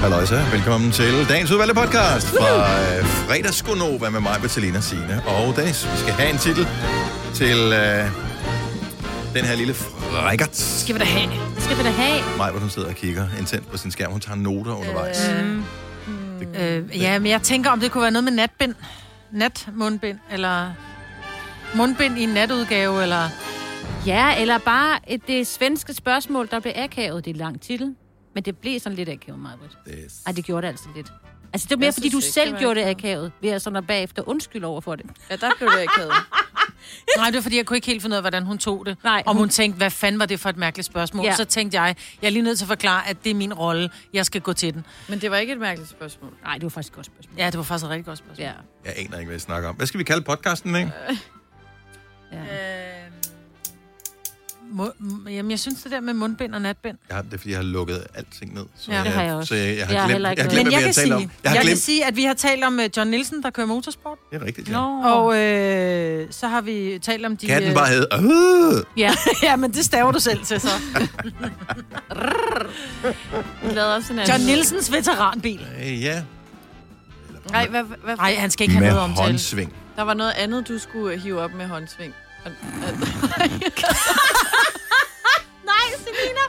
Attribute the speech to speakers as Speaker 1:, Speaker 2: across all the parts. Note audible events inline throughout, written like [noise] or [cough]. Speaker 1: Halløjsa, velkommen til dagens udvalgte podcast fra øh, fredagsgonova med mig, Bettelina Sine og Dennis. Vi skal have en titel til øh, den her lille frækkert.
Speaker 2: Skal vi da have? Skal vi da have?
Speaker 1: Maj, hvor hun sidder og kigger intens på sin skærm. Hun tager noter undervejs.
Speaker 2: Øh, øh, ja, men jeg tænker, om det kunne være noget med natbind. Natmundbind, eller mundbind i en
Speaker 3: [laughs]
Speaker 2: natudgave, eller...
Speaker 4: Ja, eller bare et, det svenske spørgsmål, der blev akavet. Det er en lang titel, men det blev sådan lidt akavet, Marvitt.
Speaker 1: Yes.
Speaker 4: Ej, det gjorde det altså lidt. Altså, det var mere,
Speaker 3: Jeg
Speaker 4: fordi
Speaker 3: synes
Speaker 4: du
Speaker 3: ikke,
Speaker 4: selv
Speaker 3: det var
Speaker 4: gjorde det
Speaker 3: akavet.
Speaker 4: akavet, ved at sådan at bagefter undskylde over for det.
Speaker 3: Ja, der blev det akavet.
Speaker 2: Nej, det var fordi, jeg kunne ikke helt finde ud af, hvordan hun tog det.
Speaker 4: Nej.
Speaker 2: Om hun tænkte, hvad fanden var det for et mærkeligt spørgsmål? Ja.
Speaker 4: Ja.
Speaker 2: Så tænkte jeg, jeg er lige nødt til at forklare, at det er min rolle. Jeg skal gå til den.
Speaker 3: Men det var ikke et mærkeligt spørgsmål.
Speaker 4: Nej, det var faktisk et godt spørgsmål.
Speaker 2: Ja, det var faktisk et rigtig godt spørgsmål.
Speaker 4: Ja.
Speaker 1: Jeg aner ikke, hvad jeg snakker om. Hvad skal vi kalde podcasten, ikke?
Speaker 4: ja.
Speaker 2: Øh, Mu- m- jamen, jeg synes det der med mundbind og natbind.
Speaker 1: Jeg har, det er, fordi jeg har lukket alting ned. Så
Speaker 2: Ja, det
Speaker 4: har jeg også.
Speaker 1: Så Øh, jeg, jeg har
Speaker 4: Jeg har
Speaker 1: glemt,
Speaker 4: heller ikke
Speaker 1: jeg har
Speaker 4: noget.
Speaker 1: glemt
Speaker 2: Men
Speaker 1: hvad
Speaker 2: jeg, kan sige, jeg,
Speaker 1: vi har talt om. Jeg har
Speaker 2: jeg kan
Speaker 1: glemt.
Speaker 2: sige, at vi har talt om øh, John Nielsen, der kører motorsport.
Speaker 1: Det er rigtigt,
Speaker 4: Nå.
Speaker 1: ja.
Speaker 2: Og øh, så har vi talt om de...
Speaker 1: Katten
Speaker 2: øh,
Speaker 1: bare hed. Øh!
Speaker 4: ja.
Speaker 2: [laughs] ja, men det staver du selv til, så.
Speaker 3: Vi lavede også en anden.
Speaker 2: John Nielsens veteranbil.
Speaker 1: Øh, Ja,
Speaker 3: Nej, hvad, hvad,
Speaker 2: Nej, han skal ikke have
Speaker 1: med
Speaker 2: noget omtale.
Speaker 1: håndsving.
Speaker 3: der var noget andet, du skulle øh, hive op med håndsving. Og-
Speaker 4: Nej,
Speaker 2: [laughs]
Speaker 4: Selina!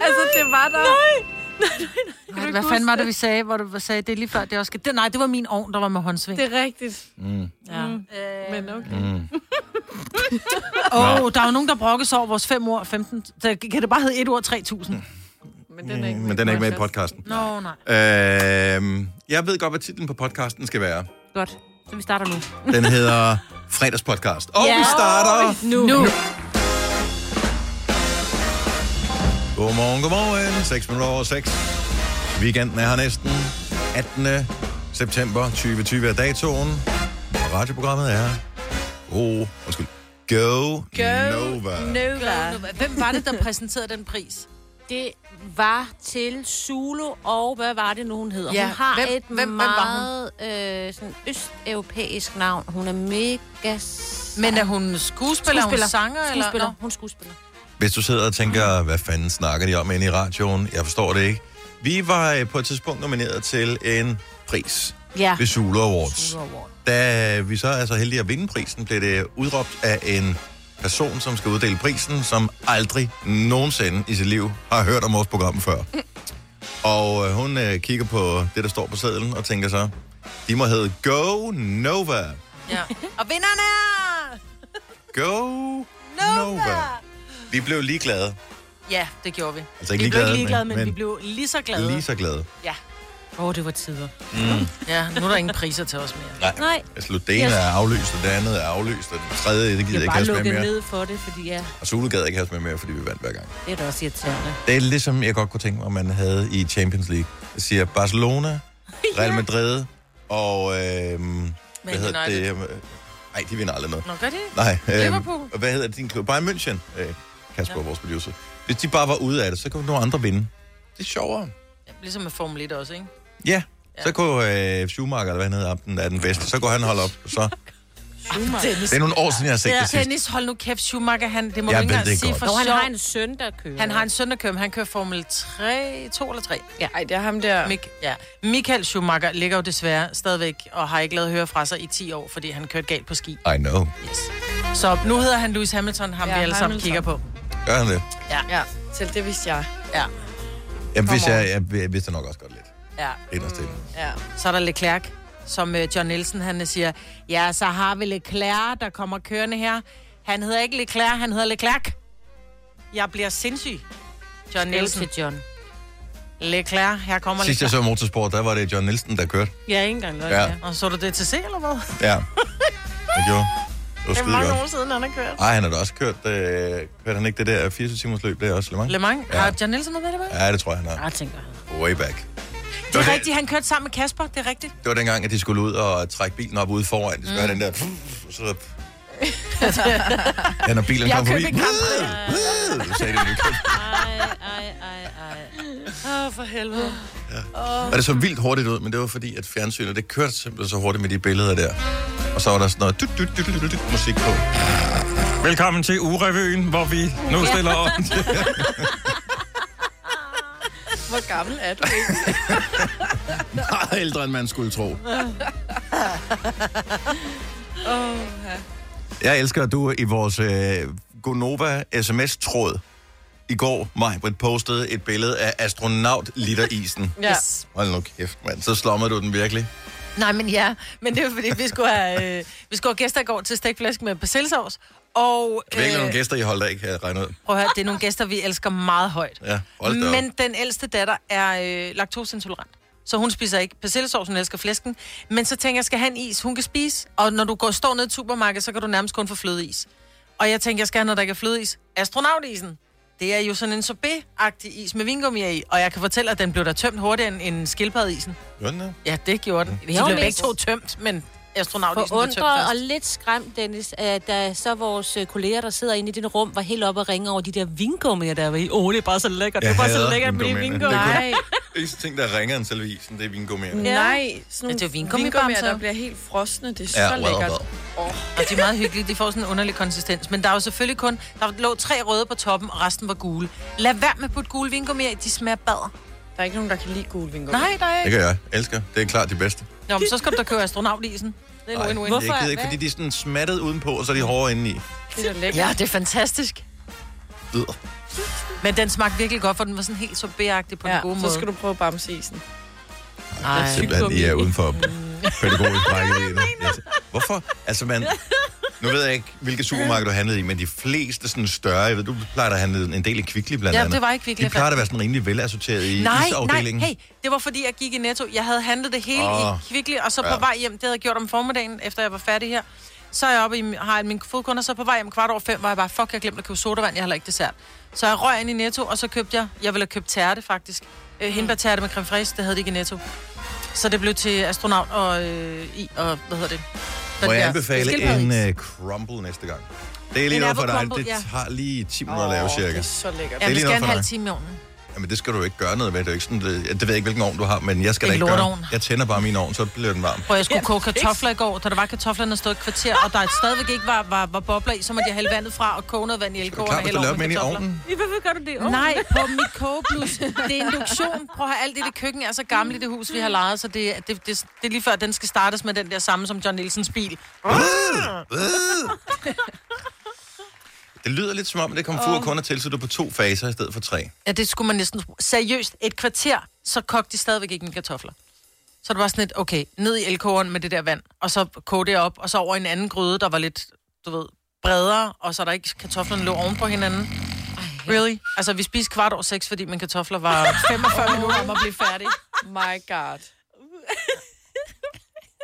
Speaker 3: Altså, det var der. Nej.
Speaker 2: Ej, hvad fanden var det, vi sagde, hvor du sagde, det er lige før, det også skal... Det, nej, det var min ovn, der var med håndsving.
Speaker 3: Det er rigtigt.
Speaker 1: Mm.
Speaker 2: Ja.
Speaker 3: Men Mm. Øh, okay. [laughs]
Speaker 2: Åh, oh, der er jo nogen, der brokkes over vores 5 ord 15... Så kan det bare hedde 1 ord 3000? Nå,
Speaker 3: Men den er ikke,
Speaker 1: Men den er ikke med i podcasten.
Speaker 2: nej.
Speaker 1: Øh, jeg ved godt, hvad titlen på podcasten skal være.
Speaker 4: [laughs] Godt. Så vi starter nu.
Speaker 1: Den hedder Fredagspodcast. Og
Speaker 4: Ja.
Speaker 1: vi starter...
Speaker 3: Nu. nu.
Speaker 1: Godmorgen, godmorgen. 6 minutter over 6. Weekenden er her næsten. 18. september 2020 er datoen. Og radioprogrammet er... Oh, undskyld. Go, Nova.
Speaker 3: Nova.
Speaker 2: Hvem var det, der præsenterede den pris?
Speaker 4: Det var til Zulu, og hvad var det nu, hun hedder?
Speaker 2: Ja,
Speaker 4: Hun har
Speaker 2: hvem-
Speaker 4: et
Speaker 2: hvem- hvem var
Speaker 4: meget øh, sådan østeuropæisk navn. Hun er mega... Spiller,
Speaker 2: Men er hun skuespiller, skuespiller. hun sanger?
Speaker 4: skuespiller.
Speaker 2: Eller?
Speaker 4: Hun er skuespiller.
Speaker 1: Hvis du sidder og tænker, hvad fanden snakker de om inde i radioen? Jeg forstår det ikke. Vi var øh, på et tidspunkt nomineret til en pris
Speaker 4: Ja.
Speaker 1: ved Zulu Awards.
Speaker 4: Zulu Award.
Speaker 1: Da vi så er så heldige at vinde prisen, blev det udråbt af en person, som skal uddele prisen, som aldrig nogensinde i sit liv har hørt om vores program før. Og øh, hun øh, kigger på det, der står på sedlen, og tænker så, de må hedde Go Nova.
Speaker 2: Nå. Ja. Og vinderne er...
Speaker 1: Go Nova. Nova. Vi blev ligeglade.
Speaker 2: Ja, det gjorde vi.
Speaker 1: Altså ikke
Speaker 2: Vi blev
Speaker 1: ligeglade,
Speaker 2: ikke ligeglade, men, men vi blev lige så glade.
Speaker 1: lige så glade.
Speaker 4: Åh, oh, det var tider.
Speaker 2: Ja, nu er der ingen priser til os mere.
Speaker 1: Nej.
Speaker 4: Nej.
Speaker 1: Altså, det ene er aflyst, og det andet er aflyst, og det tredje, det gider jeg
Speaker 4: Jeg
Speaker 1: ikke
Speaker 4: bare
Speaker 1: have os med
Speaker 4: lukket
Speaker 1: mere.
Speaker 4: ned for det, fordi ja,
Speaker 1: Og Zulu gad jeg ikke have os med mere, fordi vi vandt hver gang.
Speaker 4: det er da også irriterende.
Speaker 1: Det er ligesom, jeg godt kunne tænke mig, man havde i Champions League. Jeg siger Barcelona, Real Madrid og... Øh, hvad hedder det?
Speaker 2: United.
Speaker 1: Nej, de vinder aldrig noget.
Speaker 2: Nå, gør det?
Speaker 1: Nej. øhm,
Speaker 2: Liverpool.
Speaker 1: og hvad hedder din klub? Bayern München, øh, Kasper, vores producer. Hvis de bare var ude af det, så kunne nogle andre vinde. Det er sjovere.
Speaker 2: Ligesom med Formel 1 også, ikke?
Speaker 1: Ja. Så kunne øh, Schumacher, eller hvad han hedder, ham, den er den bedste. Så kunne han holde op. Så, [laughs] det er nogle år siden, jeg har set
Speaker 2: Ja.
Speaker 1: det sidst.
Speaker 2: Tennis, hold nu kæft, Schumacher, han, det må
Speaker 1: Jeg
Speaker 2: du ikke
Speaker 1: ved
Speaker 2: engang
Speaker 1: det
Speaker 2: sige
Speaker 1: godt.
Speaker 2: for
Speaker 4: Og han
Speaker 2: sjov.
Speaker 4: har en søn, der kører.
Speaker 2: Han har en søn, der kører, men han kører Formel 3, 2 eller 3. Ja.
Speaker 3: Ej, det er ham der.
Speaker 2: Mik- ja. Michael Schumacher ligger jo desværre stadigvæk og har ikke lavet høre fra sig i 10 år, fordi han kørte galt på ski.
Speaker 1: I know.
Speaker 2: Yes. Så nu hedder han Lewis Hamilton, ham ja,
Speaker 3: Ja,
Speaker 2: vi alle sammen
Speaker 3: Hamilton.
Speaker 2: kigger på.
Speaker 1: Gør han det?
Speaker 3: Ja, selv det vidste jeg.
Speaker 2: Ja.
Speaker 1: Jeg vidste,
Speaker 2: on.
Speaker 1: jeg, jeg, jeg vidste nok også godt lidt.
Speaker 2: ja.
Speaker 1: Inderst mm.
Speaker 3: Ja.
Speaker 2: Så er der Leclerc, som øh, John Nielsen han øh, siger, ja, så har vi Leclerc, der kommer kørende her. Han hedder ikke Leclerc, han hedder Leclerc. Jeg bliver sindssyg. John Nielsen.
Speaker 4: Nielsen. John.
Speaker 2: Leclerc, her kommer
Speaker 1: Sidst jeg
Speaker 2: Leclerc.
Speaker 1: så motorsport, der var det John Nielsen, der kørte.
Speaker 4: Ja, ikke engang løgn.
Speaker 1: Ja.
Speaker 4: Ja.
Speaker 2: Og så du det til se, eller hvad?
Speaker 1: [laughs] Ja. Det gjorde. Det var skide godt.
Speaker 2: siden, han har kørt.
Speaker 1: Ej, han har da også kørt, øh, kørte han ikke det der 24 timers løb, det er også Le Mans?
Speaker 2: Le Mans. Ja. Har John Nielsen noget med det, var?
Speaker 1: Ja, det tror jeg, han har.
Speaker 4: Jeg tænker, han.
Speaker 1: Way back.
Speaker 2: Det er rigtigt, han kørte sammen med Kasper, det er
Speaker 4: [laughs]
Speaker 2: rigtigt.
Speaker 1: Det var dengang, at de skulle ud og trække bilen op ude foran. De skulle mm. have den der... Så... ja, når bilen kom forbi... Så sagde de, "Nu kører vi."
Speaker 2: Åh, oh, for helvede.
Speaker 1: Og det så vildt hurtigt ud, men det var fordi, at fjernsynet, det kørte simpelthen så hurtigt med de billeder der. Og så var der sådan noget dut, dut, dut, dut, dut, dut, musik på. Velkommen til Urevyen, hvor vi nu stiller op til...
Speaker 3: [laughs] Hvor gammel er du ikke?
Speaker 1: [laughs]
Speaker 2: [laughs]
Speaker 1: Meget ældre, end man skulle tro.
Speaker 3: Åh, ja.
Speaker 1: Jeg elsker, at du i vores øh, Gonova sms-tråd i går, Majbrit, postede et billede af astronaut-literisen.
Speaker 2: Ja.
Speaker 1: Hold nu kæft, mand. Så slummer du den virkelig.
Speaker 2: Nej, men ja, men det er jo fordi, vi skulle have, øh, vi skulle have gæster i går til stegflæsk med persillesovs, og... øh,
Speaker 1: Virkelig nogle gæster, I holdt af, kan jeg regne ud.
Speaker 2: Prøv at høre, det er nogle gæster, vi elsker meget højt.
Speaker 1: Ja, hold da
Speaker 2: Men
Speaker 1: men...
Speaker 2: den ældste datter er øh, laktoseintolerant. Så hun spiser ikke persillesovs, hun elsker flæsken. Men så tænker jeg, skal han is, hun kan spise. Og når du går står ned i supermarkedet, så kan du nærmest kun få flødeis. Og jeg tænker, jeg skal have noget, der ikke er flødeis. Astronautisen. Det er jo sådan en sorbet-agtig is med vingummi i. Og jeg kan fortælle, at den blev der tømt hurtigere end, end skildpaddeisen.
Speaker 1: Godt,
Speaker 2: Ja, det gjorde
Speaker 1: Mm.
Speaker 2: den. Vi
Speaker 5: Jo,
Speaker 2: har jo
Speaker 5: men-
Speaker 2: begge to tømt, men astronautisen blev tømt
Speaker 5: Forundret og
Speaker 2: først.
Speaker 5: lidt skræmt, Dennis, at da så vores øh, kolleger, der sidder inde i din rum, var helt oppe og ringe over de der vingummier, der var i. Åh, oh, det er bare så lækkert.
Speaker 1: Jeg
Speaker 5: det er bare
Speaker 1: hader
Speaker 5: så lækkert med de
Speaker 1: vingummierne.
Speaker 5: vingummier.
Speaker 1: Det er
Speaker 3: Nej,
Speaker 1: [laughs] Eneste ting, der ringer end selve isen, det er vingummier.
Speaker 5: Ja.
Speaker 3: nej. Sådan
Speaker 2: Ja, Altså, det er jo
Speaker 3: nogle
Speaker 2: vingummibamser.
Speaker 3: vingummier, der bliver helt frosne. Det er så
Speaker 1: Ja,
Speaker 3: ja,
Speaker 1: wow,
Speaker 3: lækkert.
Speaker 1: wow.
Speaker 3: Åh,
Speaker 2: Og de er meget hyggelige, de får sådan en underlig konsistens. Men der er jo selvfølgelig kun, der lå tre røde på toppen, og resten var gule. Lad være med at putte gule vingummi i, de smager bader.
Speaker 3: der er ikke nogen, der kan lide gule vingummier.
Speaker 2: Nej, der er
Speaker 1: Det
Speaker 2: ikke.
Speaker 1: kan jeg. Elsker. Det er klart de bedste.
Speaker 2: Nå, men så skal du da købe astronautisen. Det er en
Speaker 1: Ej,
Speaker 2: win-win.
Speaker 1: jeg gider ikke, fordi de er sådan smattet udenpå, og så er de hårde indeni.
Speaker 3: Det er da lækkert.
Speaker 2: Ja, det er fantastisk.
Speaker 1: Øh.
Speaker 2: Men den smagte virkelig godt, for den var sådan helt sorbetagtig på ja, den gode
Speaker 3: så
Speaker 2: måde.
Speaker 3: skal du prøve bamseisen.
Speaker 2: Ej,
Speaker 1: Simpelthen, I er uden
Speaker 2: [laughs]
Speaker 1: for pædagogisk rækkevidde. Altså, Hvorfor? Altså, man... Nu ved jeg ikke, hvilke supermarked du handlede i, men de fleste sådan større, jeg ved, du plejer at handle en del i Kvickly blandt
Speaker 2: Ja,
Speaker 1: andet.
Speaker 2: det var i Kvickly,
Speaker 1: De
Speaker 2: jeg
Speaker 1: plejer
Speaker 2: fandt.
Speaker 1: at være sådan rimelig velassorteret i
Speaker 2: nej, nej,
Speaker 1: isafdelingen.
Speaker 2: hey, det var fordi, jeg gik i Netto. Jeg havde handlet det hele oh.
Speaker 1: Åh.
Speaker 2: i Kvickly, og så på
Speaker 1: Ja.
Speaker 2: vej hjem, det havde jeg gjort om formiddagen, efter jeg var færdig her. Så er jeg oppe i, har jeg min fodkunder, så på vej hjem kvart over fem, var jeg bare, fuck, jeg glemte at købe sodavand, jeg har heller ikke dessert. Så jeg røg ind i Netto, og så købte jeg, jeg ville have købt tærte faktisk. Øh, hindbærtærte med creme fraiche, det havde de ikke i Netto. Så det blev til astronaut og øh, i, og hvad hedder det? Den
Speaker 1: Må jeg
Speaker 2: der
Speaker 1: anbefale
Speaker 2: skildpaddeis.
Speaker 1: en uh, crumble næste gang? Det er lige
Speaker 2: En
Speaker 1: noget for
Speaker 2: apple
Speaker 1: dig.
Speaker 2: crumble,
Speaker 1: Det
Speaker 2: ja.
Speaker 1: tager lige 10 minutter at lave
Speaker 3: Åh,
Speaker 1: cirka.
Speaker 3: Det er så lækkert.
Speaker 2: Ja,
Speaker 1: er
Speaker 2: vi
Speaker 1: lige
Speaker 2: skal
Speaker 1: noget
Speaker 2: have en
Speaker 1: for
Speaker 2: halv
Speaker 1: dig.
Speaker 2: time i ovnen.
Speaker 1: Jamen, det skal du jo ikke gøre noget ved. Det er jo ikke sådan, øh, det, det ved jeg ikke, hvilken ovn du har, men jeg skal
Speaker 2: En
Speaker 1: da ikke gøre.
Speaker 2: lorteovn.
Speaker 1: Jeg tænder bare min ovn, så bliver den varm.
Speaker 2: Prøv, jeg skulle koge kartofler i går, da der var kartoflerne stået et kvarter, og der stadigvæk ikke var, var, var bobler i, så måtte jeg hælde vandet fra og koge noget vand i elkåren
Speaker 1: Klar,
Speaker 2: og
Speaker 1: hvis du
Speaker 2: hælde
Speaker 1: laver
Speaker 2: over
Speaker 1: dem
Speaker 2: med
Speaker 1: ind i
Speaker 2: kartofler.
Speaker 1: ovnen.
Speaker 5: Hvorfor gør du det? Oh.
Speaker 2: Nej, på mit kogeplus. Det er induktion. Prøv at høre, alt det, det køkken er så gammelt i det hus, vi har lejet, så det, det, det, det er lige før, den skal startes med den der samme som John Nielsens bil.
Speaker 1: Det lyder lidt som om, det komfur kun er tilsættet på to faser i stedet for tre.
Speaker 2: Ja, det skulle man næsten... tro. Seriøst, et kvarter, så kogte de stadigvæk ikke mine kartofler. Så det var sådan lidt, okay, ned i elkåren med det der vand, og så koge det op, og så over i en anden gryde, der var lidt, du ved, bredere, og så der ikke kartoflerne lå oven på hinanden. Really? Altså, vi spiste kvart over seks, fordi mine kartofler [laughs] var 45 minutter om at blive færdige.
Speaker 3: My God.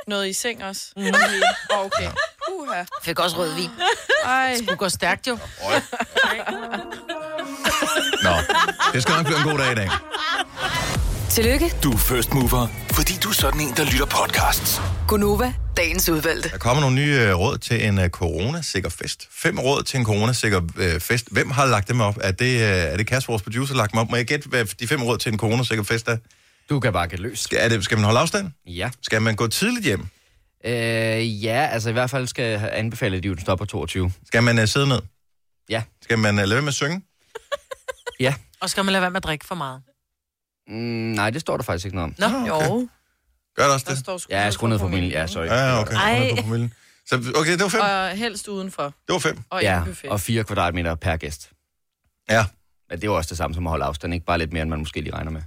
Speaker 3: Noget i seng også? Mm. Okay. okay. Uha.
Speaker 2: Fik også rødvin.
Speaker 3: Ej.
Speaker 2: Det går stærkt jo.
Speaker 1: Øj. Nå, det skal nok blive en god dag i dag.
Speaker 6: Tillykke,
Speaker 7: Du er first mover, fordi du er sådan en, der lytter podcasts.
Speaker 6: Gunova, dagens udvalgte.
Speaker 1: Der kommer nogle nye øh, råd til en øh, coronasikker fest. Fem råd til en coronasikker øh, fest. Hvem har lagt dem op? Er det, øh, er det Kasper, vores producer, der har lagt dem op? Må jeg gætte, hvad de fem råd til en coronasikker fest er?
Speaker 8: Du kan bare gætte løs.
Speaker 1: Skal, er det, skal man holde afstand?
Speaker 8: Ja.
Speaker 1: Skal man gå tidligt hjem?
Speaker 8: Øh, ja, altså i hvert fald skal jeg anbefale, at de jo stopper 22.
Speaker 1: Skal man øh, sidde ned?
Speaker 8: Ja.
Speaker 1: Skal man øh, lade være med at synge?
Speaker 8: Ja.
Speaker 2: Og skal man lade være med at drikke for meget.
Speaker 8: Mm, nej, det står der faktisk ikke noget om.
Speaker 2: Nå,
Speaker 3: Jo.
Speaker 1: Ah, Gør det også
Speaker 3: Der
Speaker 1: det?
Speaker 3: står sgu
Speaker 8: Ja, jeg skruer ned for min. Ja, sorry.
Speaker 1: Ja, okay.
Speaker 5: Ej.
Speaker 1: Hold da på promillen. Så, okay, det var fem.
Speaker 3: Og helst udenfor.
Speaker 1: Det var fem.
Speaker 3: Og ja,
Speaker 8: Ja,
Speaker 3: en buffet.
Speaker 8: og 4 kvadratmeter per gæst.
Speaker 1: Ja,
Speaker 8: Men det er jo også det samme som at holde afstand, ikke bare lidt mere, end man måske lige regner med.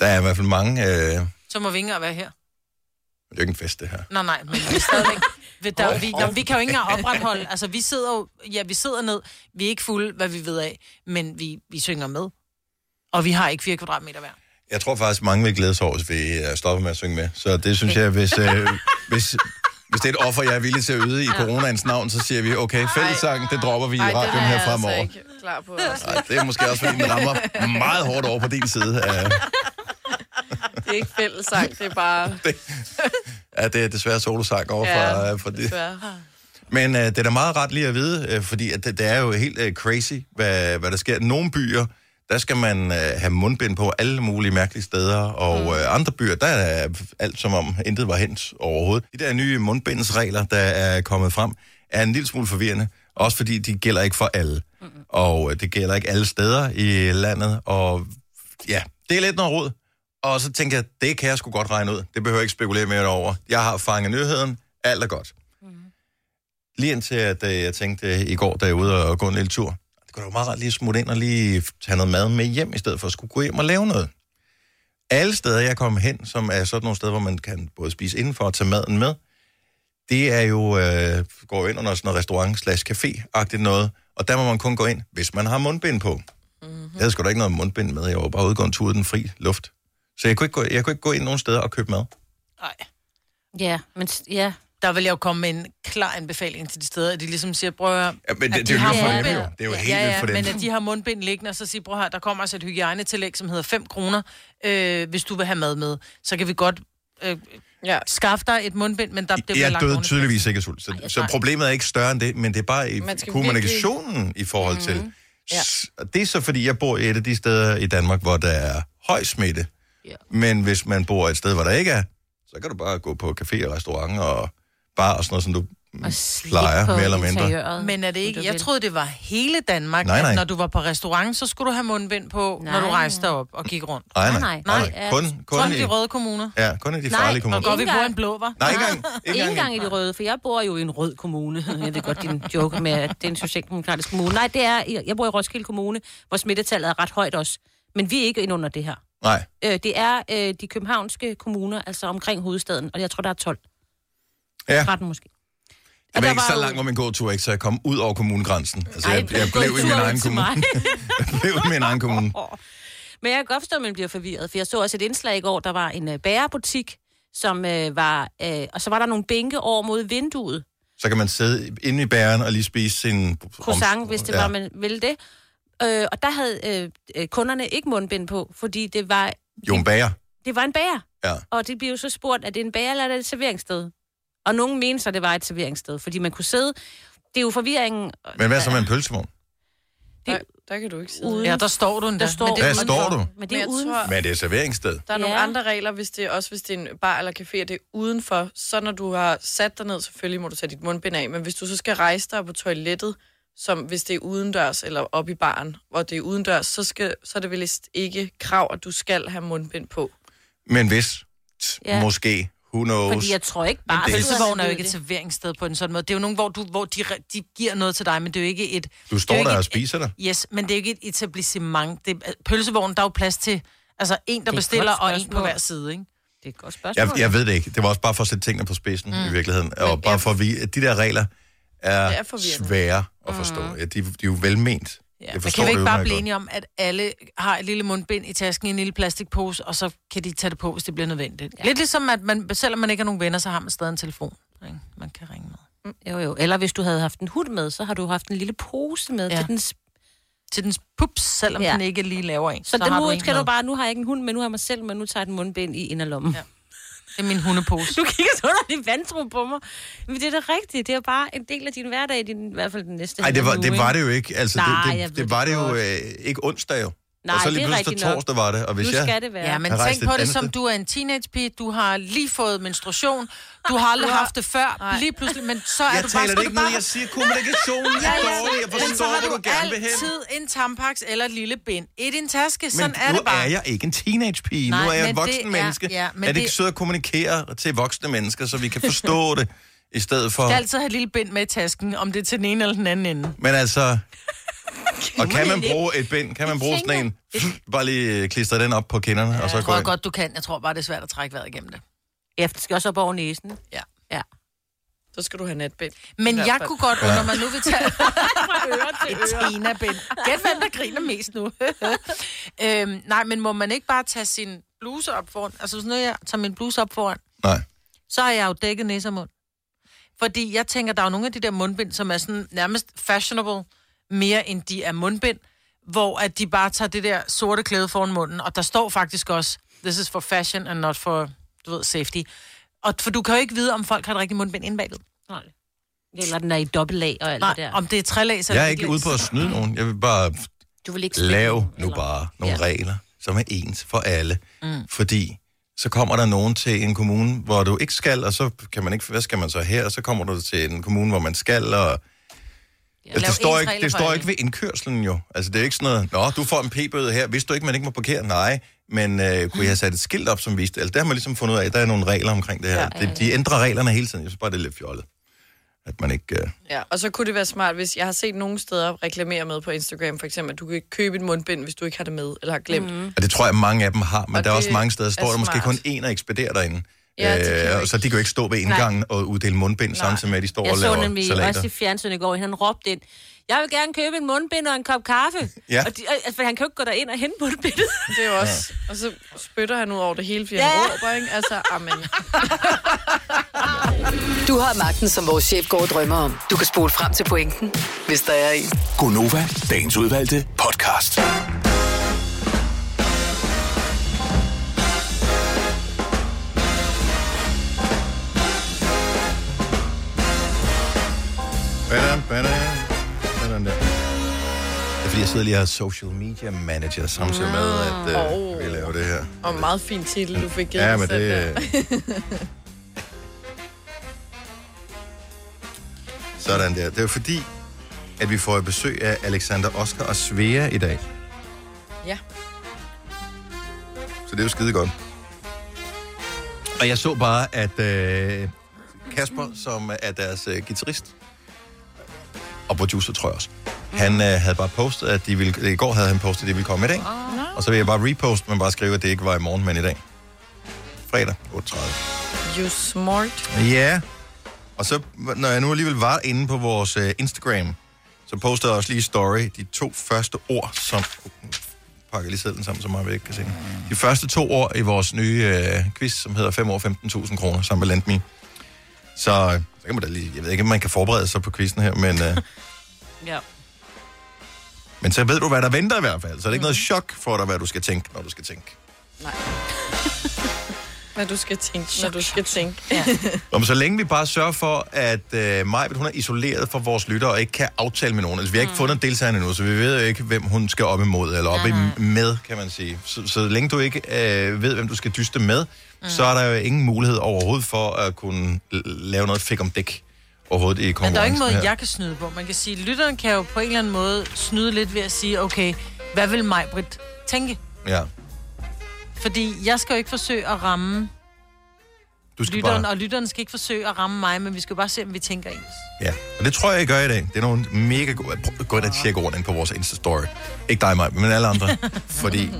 Speaker 1: der er i hvert fald mange... Øh, det
Speaker 2: så må vi ikke engang være her.
Speaker 1: er jo ikke en fest, det her.
Speaker 2: Nej, nej, men vi er stadigvæk... [laughs] Ved der, vi, jamen, vi kan jo ikke engang opretholde... Altså, vi sidder jo... Ja, vi sidder ned. Vi er ikke fulde, hvad vi ved af, men vi, vi synger med. Og vi har ikke 4 kvadratmeter hver.
Speaker 1: Jeg tror faktisk, mange vil glæde sig over, hvis vi øh, stopper med at synge med. Så det synes jeg,
Speaker 3: [laughs]
Speaker 1: hvis, øh, hvis, hvis det er et offer, jeg er villig til at yde i coronaens navn, så siger vi, okay, fællessang, det dropper vi i
Speaker 3: Ej, den
Speaker 1: radioen
Speaker 3: er
Speaker 1: her
Speaker 3: jeg
Speaker 1: fremover.
Speaker 3: altså ikke klar på. Altså.
Speaker 1: Ej, det er måske også, fordi den rammer meget hårdt over på din side. af-
Speaker 3: Det er ikke fællesang, det er bare...
Speaker 1: Ja, det er desværre solosang over
Speaker 3: Ja,
Speaker 1: fra, øh, fra det.
Speaker 3: desværre.
Speaker 1: Men øh, det er da meget ret lige at vide, øh, fordi at det, det er jo helt øh, crazy, hvad, hvad der sker. Nogle byer, der skal man øh, have mundbind på alle mulige mærkelige steder, og øh, andre byer, der er alt som om intet var hent overhovedet. De der nye mundbindsregler, der er kommet frem, er en lille smule forvirrende, også fordi de gælder ikke for alle. Og øh, det gælder ikke alle steder i landet, og ja, Det er lidt noget rod. Og så tænker jeg, det kan jeg sgu godt regne ud. Det behøver jeg ikke spekulere mere over. Jeg har fanget nyheden. Alt er godt. Lige indtil, at øh, jeg tænkte øh, i går, da jeg var ude og gå en lille tur. Det kunne da være meget rart lige at smutte ind og lige tage noget mad med hjem, i stedet for at skulle gå hjem og lave noget. Alle steder, jeg kom hen, som er sådan nogle steder, hvor man kan både spise indenfor og tage maden med, det er jo, øh, går jo ind under sådan noget restaurant slash café-agtigt noget, og der må man kun gå ind, hvis man har mundbind på. Mm-hmm. Jeg havde sgu da ikke noget mundbind med, jeg var bare ude og gå en tur i den fri luft. Så jeg kunne, ikke gå, jeg kunne ikke gå ind nogen steder og købe mad.
Speaker 2: Nej.
Speaker 4: Ja, men s- ja.
Speaker 2: Der vil jeg jo komme med en klar anbefaling til de steder, at de ligesom siger, prøv at høre,
Speaker 1: Ja, men det,
Speaker 2: at
Speaker 1: det, er jo
Speaker 2: har
Speaker 1: nyt for dem
Speaker 2: mundbind.
Speaker 1: jo. Det er jo
Speaker 2: ja,
Speaker 1: helt
Speaker 2: ja,
Speaker 1: nyt for dem.
Speaker 2: men at de har mundbind liggende, og så siger, bror her, der kommer altså et hygiejnetillæg, som hedder 5 kroner. Øh, hvis du vil have mad med, så kan vi godt øh,
Speaker 3: Ja.
Speaker 2: skaffe dig et mundbind, men der, det bliver
Speaker 1: jeg
Speaker 2: langt
Speaker 1: døde
Speaker 2: oven i
Speaker 1: tydeligvis ikke af sult. Så, så
Speaker 2: nej.
Speaker 1: problemet er ikke større end det, men det er bare i
Speaker 3: Man skal
Speaker 1: kommunikationen i forhold til. Mm. Ja. Det er så, fordi jeg bor i et af de steder i Danmark, hvor der er høj smitte.
Speaker 5: Ja.
Speaker 1: Men hvis man bor et sted, hvor der ikke er, så kan du bare gå på café og restaurant og bar og sådan noget, som du
Speaker 4: Og slik
Speaker 1: Plejer,
Speaker 4: på
Speaker 1: mere eller mindre.
Speaker 4: interiøret.
Speaker 2: Men er det ikke?
Speaker 4: du
Speaker 2: Jeg
Speaker 4: vil.
Speaker 2: troede, det var hele Danmark,
Speaker 1: Nej,
Speaker 2: nej, nej.
Speaker 1: nej.
Speaker 2: at når du var på restaurant, så skulle du have mundbind på, nej.
Speaker 4: Nej.
Speaker 2: når du rejste op og gik rundt.
Speaker 1: Nej,
Speaker 4: Nej,
Speaker 1: nej, nej.
Speaker 4: nej.
Speaker 1: nej,
Speaker 4: Nej,
Speaker 1: Kun, kun,
Speaker 2: Kun
Speaker 1: i,
Speaker 2: de røde kommuner.
Speaker 1: ja, kun i de
Speaker 4: Nej,
Speaker 1: farlige
Speaker 4: hvor
Speaker 1: kommuner.
Speaker 2: Går vi
Speaker 4: Ikke
Speaker 2: på
Speaker 4: engang.
Speaker 2: en blå, var?
Speaker 1: Nej, ikke engang. Ikke
Speaker 4: Ikke
Speaker 1: engang.
Speaker 4: engang i de røde, for jeg bor jo i en rød kommune. [laughs] Jeg ved godt, din joke med, at det er en socialdemokratisk kommune. Nej, det er, jeg bor i Roskilde Kommune, hvor smittetallet er ret højt også. Men vi er ikke ind under det her.
Speaker 1: Nej,
Speaker 4: Øh, det er øh, de københavnske kommuner, altså omkring hovedstaden, og jeg tror, der er 12.
Speaker 1: ja.
Speaker 4: 13 måske.
Speaker 1: Jeg var
Speaker 4: der
Speaker 1: ikke
Speaker 4: var
Speaker 1: så
Speaker 4: jo-
Speaker 1: langt om en god tur, ikke, så jeg kom ud over kommunegrænsen. Altså, jeg, jeg,
Speaker 4: Gå [laughs]
Speaker 1: blev
Speaker 4: en
Speaker 1: i min
Speaker 4: tur ud
Speaker 1: egen
Speaker 4: til
Speaker 1: kommune.
Speaker 4: mig.
Speaker 1: [laughs] jeg blev i min egen kommune.
Speaker 4: Men jeg kan godt forstå, at man bliver forvirret, for jeg så også et indslag i går, der var en øh, bagerbutik, som øh, var, øh, og så var der nogle bænke over mod vinduet.
Speaker 1: Så kan man sidde inde i bæren og lige spise sin...
Speaker 4: croissant, hvis det var, man ville det. Øh, og der havde øh, øh, kunderne ikke mundbind på, fordi det var,
Speaker 1: Jo, en bager.
Speaker 4: det var en bager.
Speaker 1: Ja.
Speaker 4: Og det blev jo så spurgt, er det en bager eller er det et serveringssted? Og nogen mente så, det var et serveringssted, fordi man kunne sidde... Det er jo forvirringen
Speaker 1: Men hvad så med en pølsevogn?
Speaker 3: Der, der kan du ikke sidde.
Speaker 4: ude.
Speaker 2: Ja, der står du endda.
Speaker 4: Der står-
Speaker 2: Men det er
Speaker 1: Der
Speaker 4: Hvad
Speaker 2: udenfor.
Speaker 1: står du.
Speaker 4: Men
Speaker 3: Men
Speaker 4: det er
Speaker 3: jeg
Speaker 4: uden...
Speaker 3: tror-
Speaker 1: Men det er et serveringssted.
Speaker 3: Der er nogle
Speaker 4: Ja.
Speaker 3: andre regler, hvis det, også hvis det er en bar eller café, og det er udenfor. Så når du har sat dig ned, selvfølgelig må du tage dit mundbind af, men hvis du så skal rejse dig på toilettet, som hvis det er udendørs eller op i baren, hvor det er udendørs, så, skal, så er det vel vist ikke krav, at du skal have mundbind på.
Speaker 1: Men hvis, t-
Speaker 4: Ja.
Speaker 1: måske, who knows.
Speaker 4: Fordi jeg tror ikke bare...
Speaker 2: Bare
Speaker 1: det-
Speaker 2: pølsevogn er jo ikke et serveringssted på en sådan måde. Det er jo nogen, hvor, du, hvor de, re- de giver noget til dig, men det er jo ikke et...
Speaker 1: Du står
Speaker 2: det er jo
Speaker 1: der
Speaker 2: ikke
Speaker 1: og
Speaker 2: et-
Speaker 1: spiser dig.
Speaker 2: Yes, men det er jo ikke et etablissement. Det, er- pølsevognen, der er jo plads til altså en, der
Speaker 4: et
Speaker 2: bestiller,
Speaker 4: godt
Speaker 2: og en på
Speaker 4: spørgsmål.
Speaker 2: hver side, ikke?
Speaker 4: Det er et godt spørgsmål.
Speaker 1: Jeg, jeg ved det ikke. Det var også bare for at sætte tingene på spidsen mm. i virkeligheden. Og
Speaker 3: Men
Speaker 1: bare
Speaker 3: jeg-
Speaker 1: for at vi, at de der regler er,
Speaker 3: Det er
Speaker 1: er
Speaker 3: forvirrende.
Speaker 1: svære at forstå. Mm. Ja, de, de er jo velment.
Speaker 2: Ja.
Speaker 1: Jeg
Speaker 2: Men
Speaker 1: forstår
Speaker 2: kan vi
Speaker 1: det
Speaker 2: ikke bare
Speaker 1: udmærket
Speaker 2: blive
Speaker 1: godt.
Speaker 2: enige om, at alle har et lille mundbind i tasken i en lille plastikpose, og så kan de tage det på, hvis det bliver nødvendigt? Ja. Lidt ligesom, at man, selvom man ikke har nogen venner, så har man stadig en telefon, ikke? man kan ringe med.
Speaker 4: Jo, jo. Eller hvis du havde haft en hund med, så har du haft en lille pose med
Speaker 2: Ja.
Speaker 4: ja. til den... sp-
Speaker 2: Til dens pups, selvom ja.
Speaker 4: Ja.
Speaker 2: den ikke lige laver en.
Speaker 4: Så, så
Speaker 2: har
Speaker 4: den
Speaker 2: en
Speaker 4: nu skal
Speaker 2: med.
Speaker 4: du bare... Nu har jeg ikke en hund, men nu har jeg mig selv, men nu tager jeg den mundbind i inderlommen. Ja.
Speaker 2: Det er min hundepose.
Speaker 4: [laughs] Du kigger så underligt vantro på mig. Men det er da rigtigt. Det er bare en del af din hverdag, din, i hvert fald den næste
Speaker 1: Nej, det var,
Speaker 4: halve
Speaker 1: det
Speaker 4: uge,
Speaker 1: var
Speaker 4: ikke?
Speaker 1: det jo ikke. Altså,
Speaker 4: Nej,
Speaker 1: det,
Speaker 4: jeg ved
Speaker 1: det, det
Speaker 4: det
Speaker 1: var det jo
Speaker 4: godt.
Speaker 1: øh, ikke onsdag jo.
Speaker 4: Nej,
Speaker 1: og så
Speaker 4: det
Speaker 1: lige
Speaker 4: er
Speaker 1: pludselig
Speaker 4: rigtigt nok.
Speaker 1: torsdag var det. Og hvis
Speaker 4: Nu
Speaker 1: jeg,
Speaker 4: skal det være.
Speaker 2: Ja, men
Speaker 1: Jeg rejste
Speaker 2: tænk på
Speaker 1: et
Speaker 2: det
Speaker 1: andet
Speaker 2: som,
Speaker 1: sted.
Speaker 2: du er en teenagepige, du har lige fået menstruation, du har aldrig haft det før, lige pludselig, men så er
Speaker 1: jeg
Speaker 2: du bare...
Speaker 1: taler det ikke ned. Jeg siger, kommunikationen er dårlig. Jeg
Speaker 2: men så
Speaker 1: forstår,
Speaker 2: har
Speaker 1: hvor
Speaker 2: du
Speaker 1: du gerne vil hen.
Speaker 2: altid en tampaks eller et lille bind. Et i en taske, sådan
Speaker 1: Men
Speaker 2: er
Speaker 1: nu
Speaker 2: det bare.
Speaker 1: er jeg ikke en teenagepige. Nu
Speaker 2: Nej,
Speaker 1: er jeg et
Speaker 2: men
Speaker 1: voksen
Speaker 2: det er-
Speaker 1: menneske.
Speaker 2: ja, men
Speaker 1: er det
Speaker 2: det-
Speaker 1: ikke sødt at kommunikere til voksne mennesker, så vi kan
Speaker 2: [laughs]
Speaker 1: forstå det, i stedet for...
Speaker 2: skal altid have et lille bind med i tasken, om det er til den ene eller den anden ende.
Speaker 1: Men altså... Og kan man bruge et bind? Kan man bruge sådan en? Bare lige øh, klistre den op på kinderne, og så
Speaker 2: Jeg
Speaker 1: gå
Speaker 2: tror
Speaker 1: ind.
Speaker 2: godt, du kan. Jeg tror bare, det er svært at trække vejret igennem det.
Speaker 4: Ja, det skal også op over næsen.
Speaker 2: Ja.
Speaker 4: Ja.
Speaker 3: Så skal du have natbind.
Speaker 2: Men
Speaker 3: I hvert
Speaker 2: jeg
Speaker 3: fald.
Speaker 2: kunne godt, når man nu vil
Speaker 3: [laughs]
Speaker 2: tage et Tina-bind. Gæt, hvem der griner mest nu. [laughs] øhm, nej, men må man ikke bare tage sin bluse op foran? Altså, hvis nu jeg tager min bluse op foran,
Speaker 1: Nej.
Speaker 2: så har jeg jo dækket næse og mund. Fordi jeg tænker, der er jo nogle af de der mundbind, som er sådan nærmest fashionable, mere end de er mundbind, hvor at de bare tager det der sorte klæde foran munden, og der står faktisk også, this is for fashion and not for, du ved, safety. Og for du kan jo ikke vide, om folk har et rigtigt mundbind indbagved.
Speaker 4: Nej. Eller den er i dobbelt lag og alt
Speaker 2: Nej,
Speaker 4: det der.
Speaker 2: om det er trælæs eller
Speaker 1: Jeg er ikke ude på at snyde nogen. Jeg vil bare
Speaker 4: Du vil ikke smitte
Speaker 1: lave
Speaker 4: nogen,
Speaker 1: nu
Speaker 4: eller-
Speaker 1: bare nogle regler, som er ens for alle.
Speaker 3: Mm.
Speaker 1: Fordi så kommer der nogen til en kommune, hvor du ikke skal, og så kan man ikke, hvad skal man så her, og så kommer du til en kommune, hvor man skal, og Altså, det,
Speaker 2: Lav
Speaker 1: står
Speaker 2: ens
Speaker 1: ikke,
Speaker 2: regler
Speaker 1: det
Speaker 2: for
Speaker 1: står
Speaker 2: alle.
Speaker 1: ikke ved indkørselen jo. Altså, det er ikke sådan noget, Nå, du får en p-bøde her. Vidste du ikke, man ikke må parkere? Nej, men øh, kunne jeg have sat et skilt op, som viste det? Altså, der har man ligesom fundet ud af, at der er nogle regler omkring det her. Ja, ja, ja. De ændrer reglerne hele tiden. Jeg synes bare, det er lidt fjollet. At man ikke... Øh...
Speaker 3: Ja, og så kunne det være smart, hvis jeg har set nogle steder reklamere med på Instagram, for eksempel, at du kan ikke købe et mundbind, hvis du ikke har det med, eller har glemt.
Speaker 2: Mhm.
Speaker 3: Mm.
Speaker 1: Og det tror jeg, mange af dem har, men og
Speaker 3: Og
Speaker 1: der er
Speaker 3: det
Speaker 1: også mange steder, står
Speaker 3: er
Speaker 1: der måske kun
Speaker 3: smart.
Speaker 1: én og ekspederer derinde.
Speaker 3: Ja, det kan
Speaker 1: øh,
Speaker 3: jo
Speaker 1: og så de kan jo ikke stå ved indgangen og uddele mundbind, Nej. samtidig med, at de står
Speaker 4: Jeg
Speaker 1: og
Speaker 4: så
Speaker 1: laver
Speaker 4: nemlig
Speaker 1: salater.
Speaker 4: også i fjernsynet i går, han råbte ind, jeg vil gerne købe en mundbind og en kop kaffe.
Speaker 1: Ja.
Speaker 4: Og de, altså, for han kan jo ikke gå derind og hente mundbindet.
Speaker 3: Det er jo også... Ja. Og så spytter han ud over det hele, fordi ja. han råber, ikke? Altså, amen.
Speaker 6: Du har magten, som vores chef går og drømmer om. Du kan spole frem til pointen, hvis der er en.
Speaker 7: Gonova, dagens udvalgte podcast.
Speaker 1: Badam, badam, badam der. Det er fordi, jeg sidder lige og er social media manager samtidig med, at øh, vi laver det her.
Speaker 3: Og en meget fin titel, du fik givet
Speaker 1: Ja,
Speaker 3: dig
Speaker 1: men
Speaker 3: selv
Speaker 1: det...
Speaker 3: der.
Speaker 1: øh. Sådan der. Det er fordi, at vi får besøg af Alexander Oskar og Svea i dag.
Speaker 3: Ja.
Speaker 1: Så det er jo skide godt. Og jeg så bare, at øh, Kasper, som er deres øh, guitarist og producer, tror jeg også, han øh, havde bare postet, at de ville... I går havde han postet, at de ville komme i dag. Og så vil jeg bare reposte, men bare skrive, at det ikke var i morgen, men i dag. Fredag, 8.30.
Speaker 3: You smart.
Speaker 1: Ja. Og så, når jeg nu alligevel var inde på vores øh, Instagram, så postede jeg også lige i story de to første ord, som... Uh, pakker lige sædlen sammen, så meget vi ikke kan se. den. De første to ord i vores nye øh, quiz, som hedder 5 år 15.000 kroner, sammen med Landmi. Så, øh, så kan man da lige... Jeg ved ikke, om man kan forberede sig på quizzen her, men... Øh,
Speaker 4: [laughs]
Speaker 1: [laughs]
Speaker 4: Ja.
Speaker 1: men så ved du, hvad der venter i hvert fald. Så det er ikke noget chok for dig, hvad du skal tænke, når du skal tænke.
Speaker 3: Hvad du skal tænke, når du skal tænke.
Speaker 1: Om så længe vi bare sørger for, at øh, Majbet, hun er isoleret fra vores lyttere og ikke kan aftale med nogen. Altså, vi har ikke mm. fundet deltagerne endnu, så vi ved jo ikke, hvem hun skal op imod, eller op i, med, kan man sige. Så, så længe du ikke øh, ved, hvem du skal dyste med, mm. så er der jo ingen mulighed overhovedet for at kunne l- lave noget fik om dæk overhovedet i
Speaker 2: Men
Speaker 1: konkurrencen
Speaker 2: der er jo ingen måde,
Speaker 1: her.
Speaker 2: jeg kan snyde på. Man kan sige, lytteren kan jo på en eller anden måde snyde lidt ved at sige, okay, hvad vil mig, Britt, tænke?
Speaker 1: Ja.
Speaker 2: Fordi jeg skal jo ikke forsøge at ramme
Speaker 1: Du skal
Speaker 2: lytteren,
Speaker 1: bare...
Speaker 2: og lytteren skal ikke forsøge at ramme mig, men vi skal bare se, om vi tænker ens.
Speaker 1: Ja, og det tror jeg, I gør i dag. Det er nogle mega gode... Prøv gå ind og tjek ordene ind på vores Insta-story. Ikke dig, mig, men alle
Speaker 2: [laughs]
Speaker 1: andre. fordi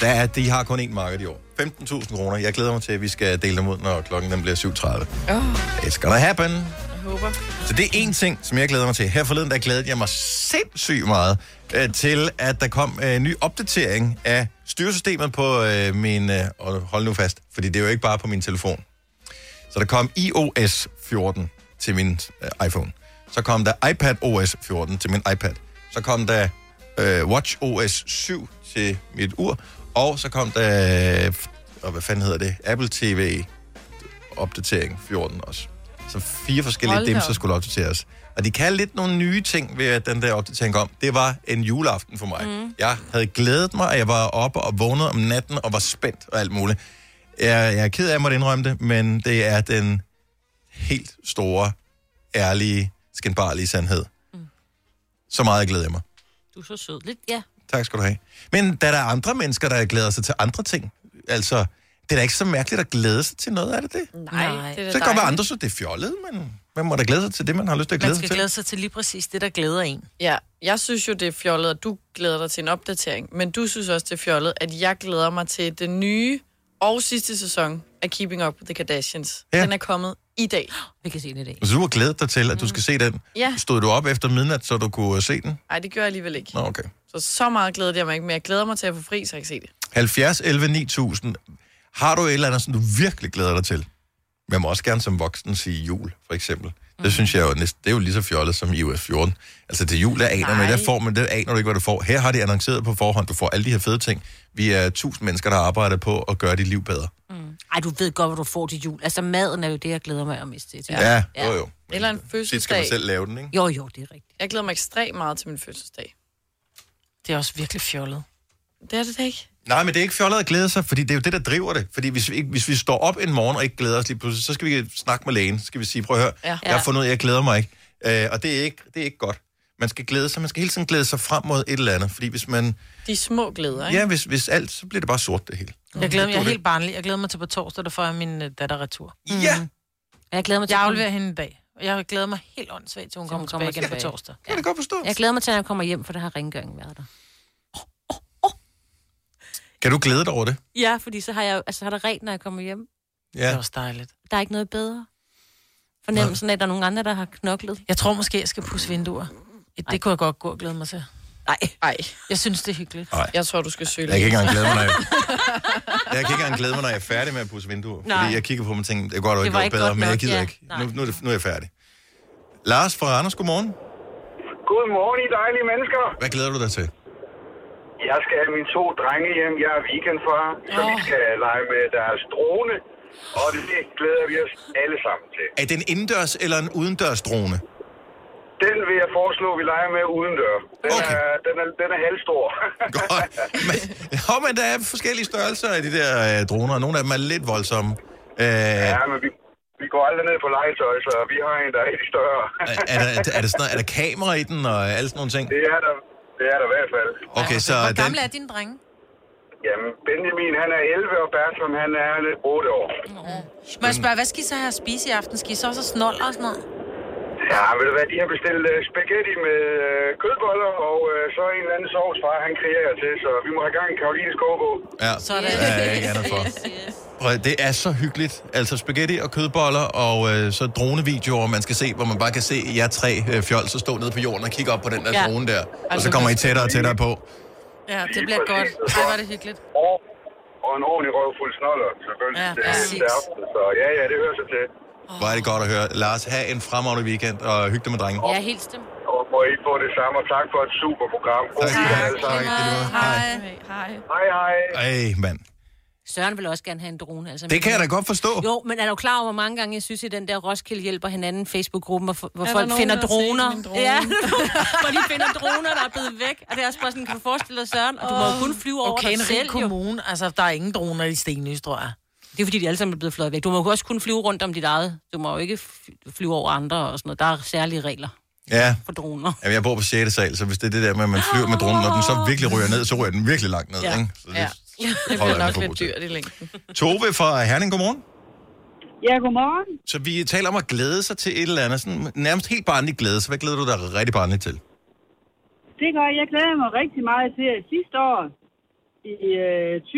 Speaker 1: der er, de har kun én marked i år. 15.000 kroner. Jeg glæder mig til, at vi skal dele dem ud, når klokken den bliver 7.30.
Speaker 3: [laughs] Åh, oh,
Speaker 1: It's gonna happen.
Speaker 3: jeg håber.
Speaker 1: Så det er én ting, som jeg glæder mig til. Her forleden, der glædede jeg mig sindssygt meget øh, til, at der kom øh, en ny opdatering af styresystemet på øh, min... Øh, og hold nu fast, fordi det er jo ikke bare på min telefon. Så der kom iOS 14 til min øh, iPhone. Så kom der iPad OS 14 til min iPad. Så kom der øh, Watch OS 7 til mit ur. Og så kom der... Øh, og hvad fanden hedder det? Apple TV opdatering 14 også. Så fire forskellige
Speaker 3: Hold
Speaker 1: Hold
Speaker 3: da
Speaker 1: dimser
Speaker 3: op.
Speaker 1: skulle opdateres. Og de kan lidt nogle nye ting ved at den der opdatering kom. Det var en juleaften for mig. Mm. Jeg havde glædet mig, og jeg var oppe og vågnede om natten og var spændt og alt muligt. Jeg, jeg er ked af, at jeg måtte indrømme det, men det er den helt store, ærlige, skinbarlige sandhed. Mm. Så meget glæder jeg mig.
Speaker 4: Du er så sød. Lidt, ja.
Speaker 1: Tak skal du have. Men da der er andre mennesker, der glæder sig til andre ting, altså, det er da ikke så mærkeligt at glæde sig til noget, er det det? Så
Speaker 3: Nej, Nej. det er
Speaker 1: kan
Speaker 3: da
Speaker 1: det godt være,
Speaker 3: dejligt.
Speaker 1: andre synes, det er fjollet, men man må da glæde sig til det, man har lyst til at glæde
Speaker 2: Man
Speaker 1: sig
Speaker 2: skal
Speaker 1: til.
Speaker 2: glæde sig til lige præcis det, der glæder en.
Speaker 3: Ja, jeg synes jo, det er fjollet, at du glæder dig til en opdatering. Men du synes også, det er fjollet, at jeg glæder mig til den nye og sidste sæson af Keeping Up with the Kardashians.
Speaker 1: Ja.
Speaker 3: Ja. Den er kommet i dag.
Speaker 4: Vi kan se den i dag.
Speaker 1: Så du har glædet dig til, at du skal se den.
Speaker 3: Mm. Ja.
Speaker 1: Stod du op efter midnat, så du kunne øh, se den?
Speaker 3: Nej, det gør jeg alligevel ikke.
Speaker 1: Nå, okay.
Speaker 3: Så så meget glæder jeg mig ikke, men jeg glæder mig til at få fri, så jeg kan se det.
Speaker 1: 70, 11, 9000. Har du et eller andet, som du virkelig glæder dig til? Man må også gerne som voksen sige jul, for eksempel.
Speaker 3: Mm.
Speaker 1: Det synes jeg jo næsten, det er jo lige så fjollet som iOS 14. Altså til jul, der aner man,
Speaker 3: Nej.
Speaker 1: der får man, der aner du ikke, hvad du får. Her har de annonceret på forhånd, du får alle de her fede ting. Vi er tusind mennesker, der arbejder på at gøre dit liv bedre.
Speaker 4: Ej, du ved godt, hvad du får til jul. Altså, maden er jo det, jeg glæder mig mest til. til.
Speaker 1: Ja, ja. jo jo.
Speaker 3: Eller en
Speaker 1: Det skal man
Speaker 3: fødselsdag.
Speaker 1: selv lave den, ikke?
Speaker 4: Jo, jo, det er rigtigt.
Speaker 3: Jeg glæder mig ekstremt meget til min fødselsdag.
Speaker 2: Det er også virkelig fjollet.
Speaker 3: Det er det da ikke.
Speaker 1: Nej, men det er ikke fjollet at glæde sig, fordi det er jo det, der driver det. Fordi hvis vi, ikke, hvis vi står op en morgen og ikke glæder os lige pludselig, så skal vi snakke med lægen. Så skal vi sige, prøv at høre, ja.
Speaker 3: Ja.
Speaker 1: jeg har fundet ud af, at jeg glæder mig ikke. Øh, og det er, ikke, det er ikke godt. Man skal glæde sig, man skal hele tiden glæde sig frem mod et eller andet, fordi hvis man,
Speaker 3: De små glæder, ikke?
Speaker 1: ja, hvis, hvis alt, så bliver det bare sort det hele.
Speaker 2: Jeg glæder mig, jeg er
Speaker 1: Det er
Speaker 2: helt barnlig. Jeg glæder mig til på torsdag, der får jeg min øh, datter retur.
Speaker 1: Ja,
Speaker 4: Mm.
Speaker 1: det
Speaker 5: Jeg glæder mig til,
Speaker 2: Jeg
Speaker 5: at
Speaker 2: afleverer hende i dag. Og Jeg glæder mig helt åndssvagt, til hun kommer tilbage
Speaker 5: kommer
Speaker 2: igen på
Speaker 5: tilbage.
Speaker 2: torsdag.
Speaker 1: kan jeg godt forstå.
Speaker 5: hun- jeg glæder mig til, at jeg kommer hjem, for der har rengøringen været der.
Speaker 1: Kan du glæde dig over det?
Speaker 5: Ja, fordi så har, jeg, altså, så har der rent, når jeg kommer hjem.
Speaker 2: Det er
Speaker 1: Ja.
Speaker 2: også dejligt.
Speaker 5: Der er ikke noget bedre. Fornemmelsen af, at der er nogen andre, der har knoklet.
Speaker 2: Jeg tror måske, jeg skal pusse vinduer. Det kunne jeg godt gå og glæde mig til.
Speaker 5: Nej,
Speaker 3: Nej,
Speaker 2: Jeg synes, det er hyggeligt.
Speaker 3: jeg tror, du skal søge
Speaker 1: Jeg
Speaker 3: lidt.
Speaker 1: kan ikke engang glæde mig, når jeg...
Speaker 3: [laughs]
Speaker 1: Jeg kan ikke engang glæde mig, når jeg er færdig med at pusse vinduer. Nej.
Speaker 5: Nej.
Speaker 1: Fordi jeg kigger på dem og tænker, det går da ikke
Speaker 5: var
Speaker 1: noget
Speaker 5: ikke
Speaker 1: bedre,
Speaker 5: godt
Speaker 1: men jeg
Speaker 5: nok,
Speaker 1: gider
Speaker 5: ja.
Speaker 1: ikke.
Speaker 5: Nej.
Speaker 1: Nu, nu, er det, nu er jeg færdig. Lars fra Anders, godmorgen.
Speaker 9: Godmorgen, I dejlige mennesker.
Speaker 1: Hvad glæder du dig til?
Speaker 9: Jeg skal have mine to drenge hjem. Jeg er weekendfar, så vi skal lege med deres drone. Og det glæder vi os alle sammen til.
Speaker 1: Er det en indendørs eller en udendørs drone?
Speaker 9: Den vil jeg foreslå, vi leger med uden dør. Den,
Speaker 1: Okay.
Speaker 9: okay. er, den, er, den er halvstor.
Speaker 1: [laughs] Godt. Men, jo, men der er forskellige størrelser af de der øh, droner, og nogle af dem er lidt voldsomme. Øh,
Speaker 9: ja,
Speaker 1: er,
Speaker 9: men vi, vi går aldrig ned på legetøj, så vi har en, der er helt større. [laughs]
Speaker 1: er, der, er, der sådan noget, er der kamera i den og alle sådan nogle ting?
Speaker 9: det, er der, det er der i hvert fald.
Speaker 1: Okay, så
Speaker 2: Hvor
Speaker 1: den,
Speaker 2: gamle er dine drenge?
Speaker 9: Jamen, Benjamin, han er 11, og Bertram, han er 8 år.
Speaker 2: Må jeg spørge, hvad skal I så have at spise i aften? Skal I så også snoller og sådan noget?
Speaker 9: Ja, ved du hvad, de har bestilt øh, spaghetti med øh, kødboller, og øh, så en eller anden sovs, far, han kriger jer til, så vi må have gang i Karolines kogebog.
Speaker 1: ja,
Speaker 2: Sådan.
Speaker 1: der er jeg ikke andet for. Prøv at- Det er så hyggeligt. Altså spaghetti og kødboller og øh, så dronevideoer, man skal se, hvor man bare kan se jer tre øh, fjol, så stå nede på jorden og kigge op på den der
Speaker 2: Ja.
Speaker 1: drone der. Og så kommer I tættere og tættere på.
Speaker 2: [laughs] Ja, det bliver godt. Det var det hyggeligt.
Speaker 9: Og, og en ordentlig røvfuld snoller, selvfølgelig.
Speaker 2: Ja,
Speaker 9: det,
Speaker 2: præcis.
Speaker 9: det aften, så ja, ja, det hører sig til.
Speaker 1: Hvor er det godt at høre. Lars, have en fremragende weekend og hygge dig med drenge.
Speaker 4: Jeg er helt stemt.
Speaker 9: Og må I få det samme, og tak for et super program. God
Speaker 1: Tak.
Speaker 9: weekend alle sammen.
Speaker 2: Hej.
Speaker 3: Hej.
Speaker 9: Hej, hej.
Speaker 1: Ej, mand.
Speaker 5: Søren vil også gerne have en drone. Altså,
Speaker 1: Det kan jeg da godt forstå.
Speaker 5: Jo, men er du klar over, hvor mange gange jeg synes, at den der Roskilde hjælper hinanden Facebook-gruppen, hvor, hvor
Speaker 3: der
Speaker 5: folk
Speaker 3: nogen,
Speaker 5: finder
Speaker 3: der har set min
Speaker 5: droner?
Speaker 3: drone?
Speaker 5: Ja, [laughs] hvor de finder droner, der er blevet væk. Og det er også bare sådan, kan du forestille dig, Søren? Og du må jo kun flyve over
Speaker 2: Okay,
Speaker 5: okay,
Speaker 2: en
Speaker 5: dig
Speaker 2: rig
Speaker 5: selv, jo.
Speaker 2: kommune. Altså, der er ingen droner i Stenløs, tror jeg.
Speaker 5: Det er fordi, de alle sammen er blevet fløjet væk. Du må jo også kun flyve rundt om dit eget. Du må jo ikke fly- flyve over andre og sådan noget. Der er særlige regler
Speaker 1: Ja.
Speaker 5: for droner.
Speaker 1: Jamen, jeg bor på 6. sal, så hvis det er det der med, at man flyver med dronen, når den så virkelig ryger ned, så ryger den virkelig langt ned. Ja. Ikke? Så det,
Speaker 3: Ja.
Speaker 1: det
Speaker 3: [laughs] Det
Speaker 1: holder
Speaker 3: bliver
Speaker 1: jeg mig
Speaker 3: nok
Speaker 1: for god
Speaker 3: lidt
Speaker 1: til.
Speaker 3: dyrt i længden.
Speaker 1: Tove fra Herning, godmorgen.
Speaker 10: Ja, godmorgen.
Speaker 1: Så vi taler om at glæde sig til et eller andet, sådan nærmest helt barnlig glæde. Så hvad glæder du dig rigtig barnligt til?
Speaker 10: Det gør jeg. Jeg glæder mig rigtig meget til, at sidste år i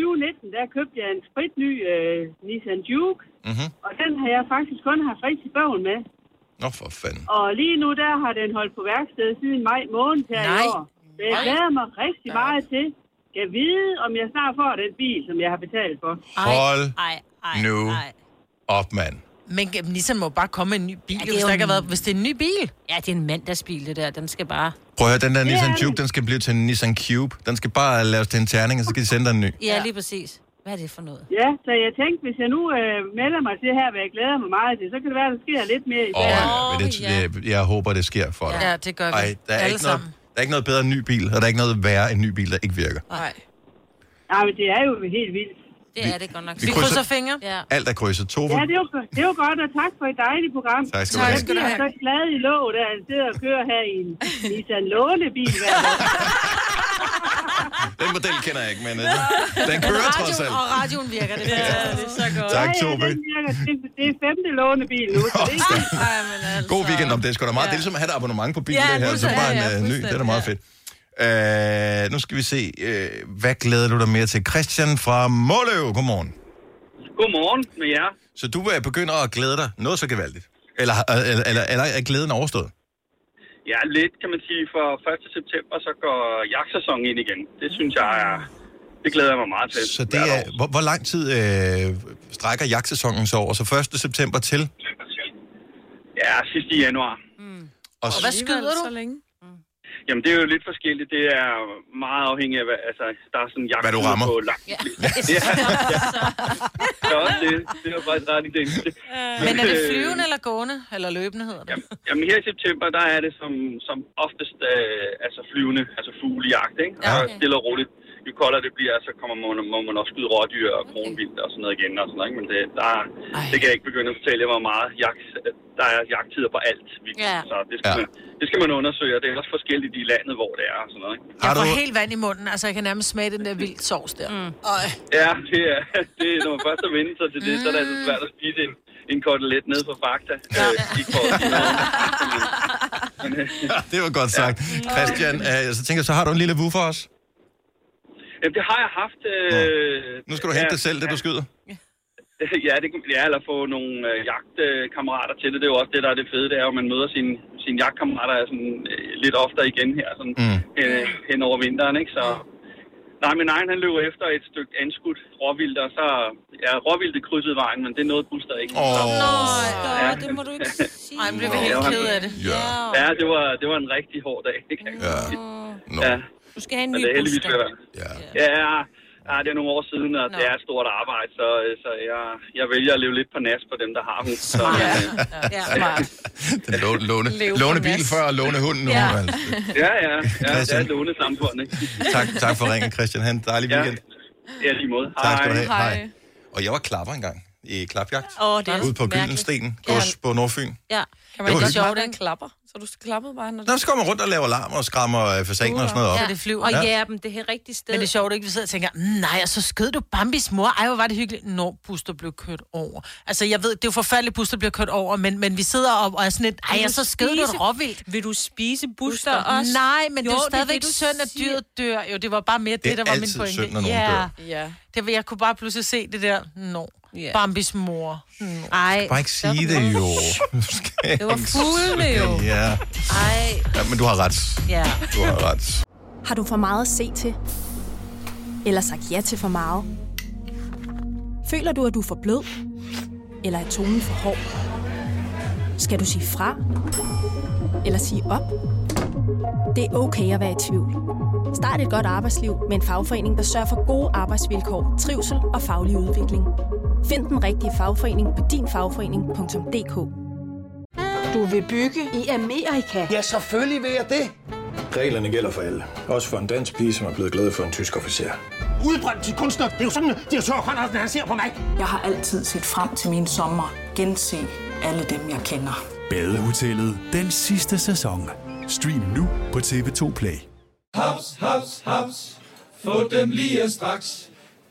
Speaker 10: øh, 2019, der købte jeg en spritny øh, Nissan Juke,
Speaker 1: Mhm.
Speaker 10: og den har jeg faktisk kun haft rigtig bøvl med.
Speaker 1: Nå for fanden.
Speaker 10: Og lige nu, der har den holdt på værksted siden maj måned her
Speaker 2: Nej.
Speaker 10: i år. Så jeg glæder mig rigtig meget til, jeg vide, om jeg snart får den bil, som jeg har betalt for.
Speaker 1: Hold
Speaker 5: Ej, ej,
Speaker 1: nu
Speaker 5: ej.
Speaker 1: op, mand.
Speaker 2: Men Nissan må bare komme med en ny bil,
Speaker 5: det er
Speaker 2: hvis,
Speaker 5: jo
Speaker 2: der ikke har
Speaker 5: en-
Speaker 2: været, hvis det er en ny bil.
Speaker 5: Ja, det er en mandagsbil, det der. Den skal bare...
Speaker 1: Prøv at høre, den der Nissan
Speaker 10: det.
Speaker 1: Juke, den skal blive til en Nissan Cube. Den skal bare laves til en terning, og så skal de sende dig en ny.
Speaker 5: Ja, lige præcis. Hvad er det for noget?
Speaker 10: Ja, så jeg tænkte, hvis jeg nu øh, melder mig til her, hvad jeg glæder mig meget til, så kan det være, at der sker lidt mere i
Speaker 1: Åh,
Speaker 10: dag.
Speaker 1: ja. men det, det, jeg håber, det sker for dig.
Speaker 2: Ja, det gør vi.
Speaker 1: Ej, der er,
Speaker 2: Alle
Speaker 1: ikke noget,
Speaker 2: sammen.
Speaker 1: der er ikke noget bedre end en ny bil, og der er ikke noget værre end en ny bil, der ikke virker.
Speaker 3: Nej.
Speaker 10: Nej, men det er jo helt vildt.
Speaker 5: Det er det godt nok.
Speaker 1: Vi
Speaker 2: Vi
Speaker 1: krydser-
Speaker 2: krydser fingre.
Speaker 5: Ja.
Speaker 1: Alt er krydset. Tove,
Speaker 10: Ja, det var, det var godt, og tak for et dejligt program.
Speaker 1: Tak skal du Tak have.
Speaker 2: skal du
Speaker 10: Jeg
Speaker 2: have.
Speaker 10: er så glad i lå, da han sidder og kører her
Speaker 2: [laughs]
Speaker 10: i en Nissan lånebil hver dag.
Speaker 1: den model kender jeg ikke, men øh, den kører trods
Speaker 2: Radioen,
Speaker 1: alt.
Speaker 2: og radioen virker det. Ja, det er så godt.
Speaker 1: Tak,
Speaker 10: Ja,
Speaker 1: Tove.
Speaker 10: den virker. Det, det er femte lånebil nu, så det er fint.
Speaker 3: Ej, men altså.
Speaker 1: God weekend om det. er sgu da meget. Ja. Det er ligesom at have et abonnement på bilen,
Speaker 2: Ja,
Speaker 1: ja, det her. Så
Speaker 2: fuldstændig.
Speaker 1: bare en
Speaker 2: Ja, ja,
Speaker 1: ja, ny. Det er da meget fedt. Øh, nu skal vi se. Øh, hvad glæder du dig mere til? Christian fra Måløv. Godmorgen.
Speaker 9: Godmorgen med jer.
Speaker 1: Så du øh, begynder at glæde dig noget så gevaldigt? Eller, øh, eller, eller, eller er glæden overstået?
Speaker 9: Ja, lidt kan man sige, for 1. september, så går jagtsæsonen ind igen. Det synes jeg er... Det glæder jeg mig meget til.
Speaker 1: Så det er, hvor, hvor lang tid øh, strækker jagtsæsonen så over? Så 1. september [laughs] til?
Speaker 9: Ja, sidst i januar.
Speaker 1: Mm. Og,
Speaker 2: Og hvad skyder du?
Speaker 3: Så længe.
Speaker 9: Jamen, det er jo lidt forskelligt. Det er meget afhængigt af, hvad, altså, der er sådan en jagt
Speaker 1: Hvad du rammer.
Speaker 9: på langt.
Speaker 4: [laughs]
Speaker 9: Ja. ja. ja. også det, det er faktisk ret i den.
Speaker 2: [laughs] Men er det flyvende eller gående? Eller løbende hedder det?
Speaker 9: Jamen, her i september, der er det som, som oftest øh, altså flyvende, altså fuglejagt, ikke?
Speaker 2: Ja,
Speaker 9: Ja,
Speaker 2: okay.
Speaker 9: okay. Stille og roligt.
Speaker 11: jo koldere det bliver, så kommer man, må man også skyde rådyr og kronvildt og sådan noget igen. Og sådan noget, ikke? Men det, der, er- det kan jeg ikke begynde at fortælle jer, hvor meget jagt, der er jagttider på alt. Ja. Så det skal, ja. man, det skal man undersøge, og det er også forskelligt i landet, hvor det er og sådan noget. Ikke?
Speaker 2: Jeg får helt vand i munden, altså jeg kan nærmest smage den der vildt sovs der. Mm. Øj.
Speaker 11: Ja, det er, [laughs] det, er- når man først har vendt sig til det, så er det altså svært at spise en, en kotelet ned fra Fakta. Ja. Øh, ikke for at sige noget.
Speaker 1: det var godt sagt. Christian, øh, så tænker jeg, så har du en lille vu for os?
Speaker 11: Jamen, det har jeg haft. Øh,
Speaker 1: Nu skal du hente
Speaker 11: ja,
Speaker 1: det selv, det du skyder.
Speaker 11: [laughs] Ja, det, kan- ja, eller få nogle øh, jagtkammerater til det. Det er jo også det, der er det fede, det er, at man møder sine sin jagtkammerater sådan, øh, lidt oftere igen her, sådan, mm. øh, hen over vinteren, ikke? Så, nej, min egen, han løb efter et stykke anskudt råvildt, og så ja, råvildt krydsede vejen, men det nåede Buster ikke.
Speaker 1: Åh,
Speaker 11: oh.
Speaker 2: nej, det må du ikke sige. Ej, men blev vi helt ked af det.
Speaker 1: Ja.
Speaker 11: ja det, var, det var en rigtig hård dag, det kan jeg ja. sige. Ja.
Speaker 4: Du skal have en
Speaker 11: Men
Speaker 4: ny
Speaker 11: det er heldigvis
Speaker 4: booster.
Speaker 11: ved at være.
Speaker 1: Ja.
Speaker 11: ja. Ja, det er nogle år siden, og det er et stort arbejde, så, øh, så jeg, jeg vælger at leve lidt på nas på dem, der har hund. Så, øh. ja.
Speaker 1: [laughs] Den lå- låne,
Speaker 11: Leve
Speaker 1: låne
Speaker 11: på
Speaker 1: bil
Speaker 11: nas.
Speaker 1: før og låne hunden nu.
Speaker 11: Ja.
Speaker 3: [laughs]
Speaker 1: Ja.
Speaker 11: ja, ja,
Speaker 1: [laughs]
Speaker 11: ja, det er
Speaker 1: Christian.
Speaker 11: et lånet samfund, ikke?
Speaker 1: [laughs] Tak, tak for ringen, Christian. Han en dejlig weekend.
Speaker 11: Ja, lige måde.
Speaker 1: Tak skal du have. Hej. Og jeg var klapper engang i klapjagt.
Speaker 3: Åh, det er
Speaker 1: Ude på
Speaker 3: mærkeligt.
Speaker 1: Gyldensten, gods på Nordfyn.
Speaker 3: Ja. Kan man
Speaker 1: Det var
Speaker 3: ikke
Speaker 1: hyggeligt.
Speaker 3: sjovt, den klapper? Så du klappede bare, når du...
Speaker 1: Nå, så går man rundt og laver larm og skræmmer øh, fasaner og sådan noget op.
Speaker 2: Ja, det flyver.
Speaker 4: dem det her rigtige sted.
Speaker 2: Men det er sjovt, ikke? Vi sidder og tænker, "Mm, nej, og så skød du Bambis mor. Ej, hvor var det hyggeligt, når Buster blev kørt over. Altså, jeg ved, det er jo forfærdeligt, at Buster bliver kørt over, men, men vi sidder og, og er sådan lidt, ej, og så skød du et råvildt.
Speaker 4: Vil du spise Buster også?
Speaker 2: Nej, men jo, det
Speaker 4: Jo,
Speaker 2: er jo
Speaker 4: det
Speaker 2: stadigvæk
Speaker 4: vil du
Speaker 2: synd, at
Speaker 4: sige.
Speaker 2: dyret dør. Jo, det var bare mere det,
Speaker 4: Det er
Speaker 2: der var min
Speaker 4: altid
Speaker 2: pointe.
Speaker 4: synd, når nogen
Speaker 2: ja.
Speaker 4: dør.
Speaker 2: ja. Det, var- jeg kunne bare pludselig se det der, nå,
Speaker 4: Ja.
Speaker 2: Bambis mor. Nå.
Speaker 4: Ej,
Speaker 1: Bare ikke sige det, jo. [laughs]
Speaker 4: Det var fuglene jo.
Speaker 1: Ja.
Speaker 4: Ej.
Speaker 1: ja, men du har ret.
Speaker 4: Ja.
Speaker 1: Du har ret.
Speaker 12: Har du for meget at se til? Eller sagt ja til for meget? Føler du, at du er for blød? Eller er tonen for hård? Skal du sige fra? Eller sige op? Det er okay at være i tvivl. Start et godt arbejdsliv med en fagforening, der sørger for gode arbejdsvilkår, trivsel og faglig udvikling. Find den rigtige fagforening på dinfagforening.dk Du vil bygge i Amerika? Ja, selvfølgelig vil jeg det.
Speaker 13: Reglerne gælder for alle. Også for en dansk pige, som er blevet glad for en tysk officer.
Speaker 14: Udbrændt til kunstner. Det er jo sådan, at de har tørt, han ser på mig. Jeg har altid set frem til min sommer. Gense alle dem, jeg kender.
Speaker 15: Badehotellet den sidste sæson. Stream nu på TV2 Play.
Speaker 16: Haps, haps, haps. Få dem lige straks.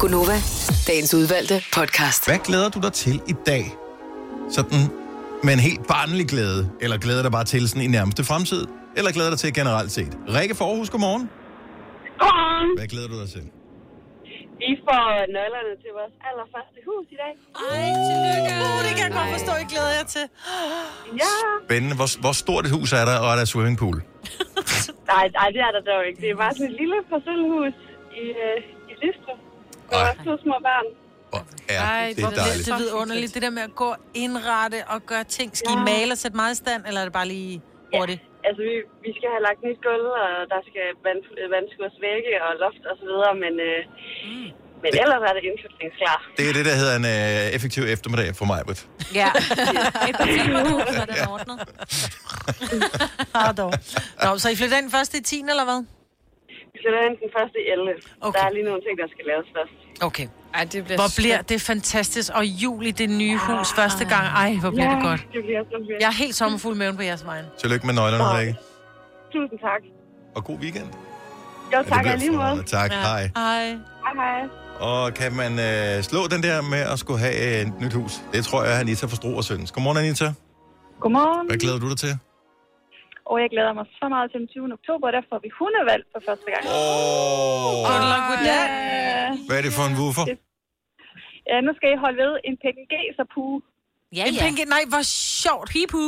Speaker 6: Gunova, dagens udvalgte podcast.
Speaker 1: Hvad glæder du dig til i dag? Sådan med en helt barnlig glæde, eller glæder dig bare til sådan i nærmeste fremtid, eller glæder dig til generelt set? Rikke Forhus, godmorgen.
Speaker 17: Mm.
Speaker 18: Godmorgen.
Speaker 1: Hvad glæder du dig til?
Speaker 18: Vi får nøglerne til vores allerførste hus i dag. Ej, tillykke.
Speaker 2: Uh, det kan jeg godt forstå, I glæder jer til.
Speaker 18: Ja.
Speaker 1: Spændende. Hvor, hvor stort et hus er der, og er der swimmingpool?
Speaker 18: Nej, nej, det er der dog ikke. Det er bare sådan et lille parcelhus i, øh, i Listrup. For vores to små børn.
Speaker 1: Ja,
Speaker 2: Ej,
Speaker 1: det er dejligt.
Speaker 2: Det er vidunderligt. Det der med at gå indrette og gøre ting. Skal I male og sætte meget i stand, eller er det bare lige hurtigt?
Speaker 18: Altså, vi, vi skal have lagt nyt gulv, og der skal vand, vandskurs vægge og loft og så videre, men, øh,
Speaker 2: Mm.
Speaker 18: men ellers er det indflytningsklar.
Speaker 1: Det er det, der hedder en øh, effektiv eftermiddag for mig, Britt.
Speaker 18: [laughs] Ja.
Speaker 2: Et par timer nu, så er den [laughs] ordnet. Ah, dog. Nå, så I flytter ind først i 10, eller hvad?
Speaker 18: Vi flytter ind den første i 11. Okay. Der er lige nogle ting, der skal laves først.
Speaker 2: Okay.
Speaker 3: Ej, det bliver
Speaker 2: Hvor bliver det fantastisk. Og juli, det nye hus første gang. Ej, hvor bliver det godt.
Speaker 18: det bliver så fedt.
Speaker 2: Jeg er helt sommerfuld i maven på jeres vejen.
Speaker 1: Tillykke med nøglerne, Rikke.
Speaker 18: Tusind tak.
Speaker 1: Og god weekend.
Speaker 18: Jo,
Speaker 1: det
Speaker 18: tak
Speaker 1: bliver
Speaker 18: ja, lige måde.
Speaker 1: fremragende. Tak, Ja. hej.
Speaker 2: Hej.
Speaker 18: Hej, hej.
Speaker 1: Og kan man øh, slå den der med at skulle have øh, et nyt hus? Det tror jeg, Anita forstår og synes. Godmorgen, Anita.
Speaker 18: Godmorgen.
Speaker 1: Hvad glæder du dig til?
Speaker 18: Og jeg glæder mig så meget til den 20. oktober, der får vi hundevalg for første gang.
Speaker 1: Åh,
Speaker 18: Godt
Speaker 2: nok
Speaker 18: med
Speaker 2: det.
Speaker 1: Hvad er det for en woofer?
Speaker 18: Ja, nu skal I holde ved en PNG så puge.
Speaker 2: en pinky, nej, hvor sjovt. Pipu.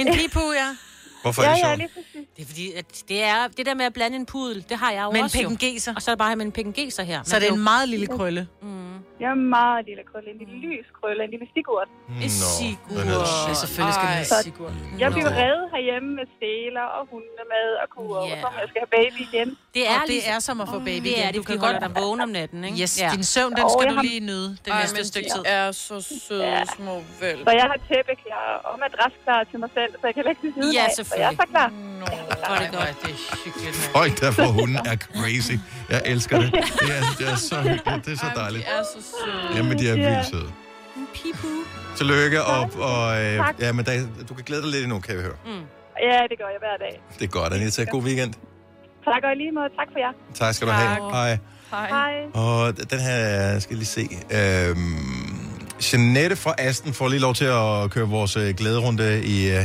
Speaker 2: En pipu, ja.
Speaker 1: Hvorfor er det
Speaker 4: ja,
Speaker 1: sjovt?
Speaker 4: Det er fordi, at det, er, det der med at blande en pudel, det har jeg jo
Speaker 2: Med en
Speaker 4: også.
Speaker 2: pekingeser.
Speaker 4: Og så er det bare med en pekingeser her.
Speaker 2: Så det er en meget lille krølle.
Speaker 4: Mm.
Speaker 17: Jeg er meget lille krølle, en lille lys krølle, en lille stigurt.
Speaker 1: Mm,
Speaker 2: En sigur. Ja, selvfølgelig skal den
Speaker 17: Så
Speaker 2: have sigur.
Speaker 17: Jeg bliver reddet herhjemme med seler og hundemad og kur, yeah. og så må jeg skal have baby igen.
Speaker 2: Det er, og det er som at få baby
Speaker 4: det er
Speaker 2: igen.
Speaker 4: det,
Speaker 2: Du kan
Speaker 4: fordi holder
Speaker 2: godt
Speaker 4: dig vågen om natten, ikke?
Speaker 2: Yes,
Speaker 4: Ja.
Speaker 2: din søvn, den
Speaker 4: Åh,
Speaker 2: skal
Speaker 4: jeg
Speaker 2: du
Speaker 4: har-
Speaker 2: lige nyde det
Speaker 4: Ej,
Speaker 2: næste
Speaker 4: men
Speaker 2: stykke
Speaker 4: de
Speaker 2: tid.
Speaker 3: er så søde
Speaker 17: Ja.
Speaker 3: små vel.
Speaker 17: Så jeg har tæppe klar og madras klar til mig selv, så jeg kan lægge til siden
Speaker 3: Ja,
Speaker 17: af, så jeg er så klar.
Speaker 2: Mm. Hvor er det godt. Det er hyggeligt. mand.
Speaker 1: Folk, der får hunden, er crazy. Jeg elsker det. Det er, det er så hyggeligt. Det er så dejligt.
Speaker 3: De er så søde.
Speaker 1: Jamen, de er vildt søde.
Speaker 17: En pipu.
Speaker 1: Tillykke, og, og øh,
Speaker 17: Tak.
Speaker 1: ja, men der, du kan glæde dig lidt endnu, kan vi høre.
Speaker 17: Mm. Ja, det gør jeg hver dag.
Speaker 1: Det er godt, Anita. God weekend.
Speaker 17: Tak og i lige måde. Tak for jer.
Speaker 1: Tak skal du have. Hej.
Speaker 17: Hej. Hej.
Speaker 1: Og den her øh, skal jeg lige se. Øhm, Jeanette fra Asten får lige lov til at køre vores øh, glæderunde i øh,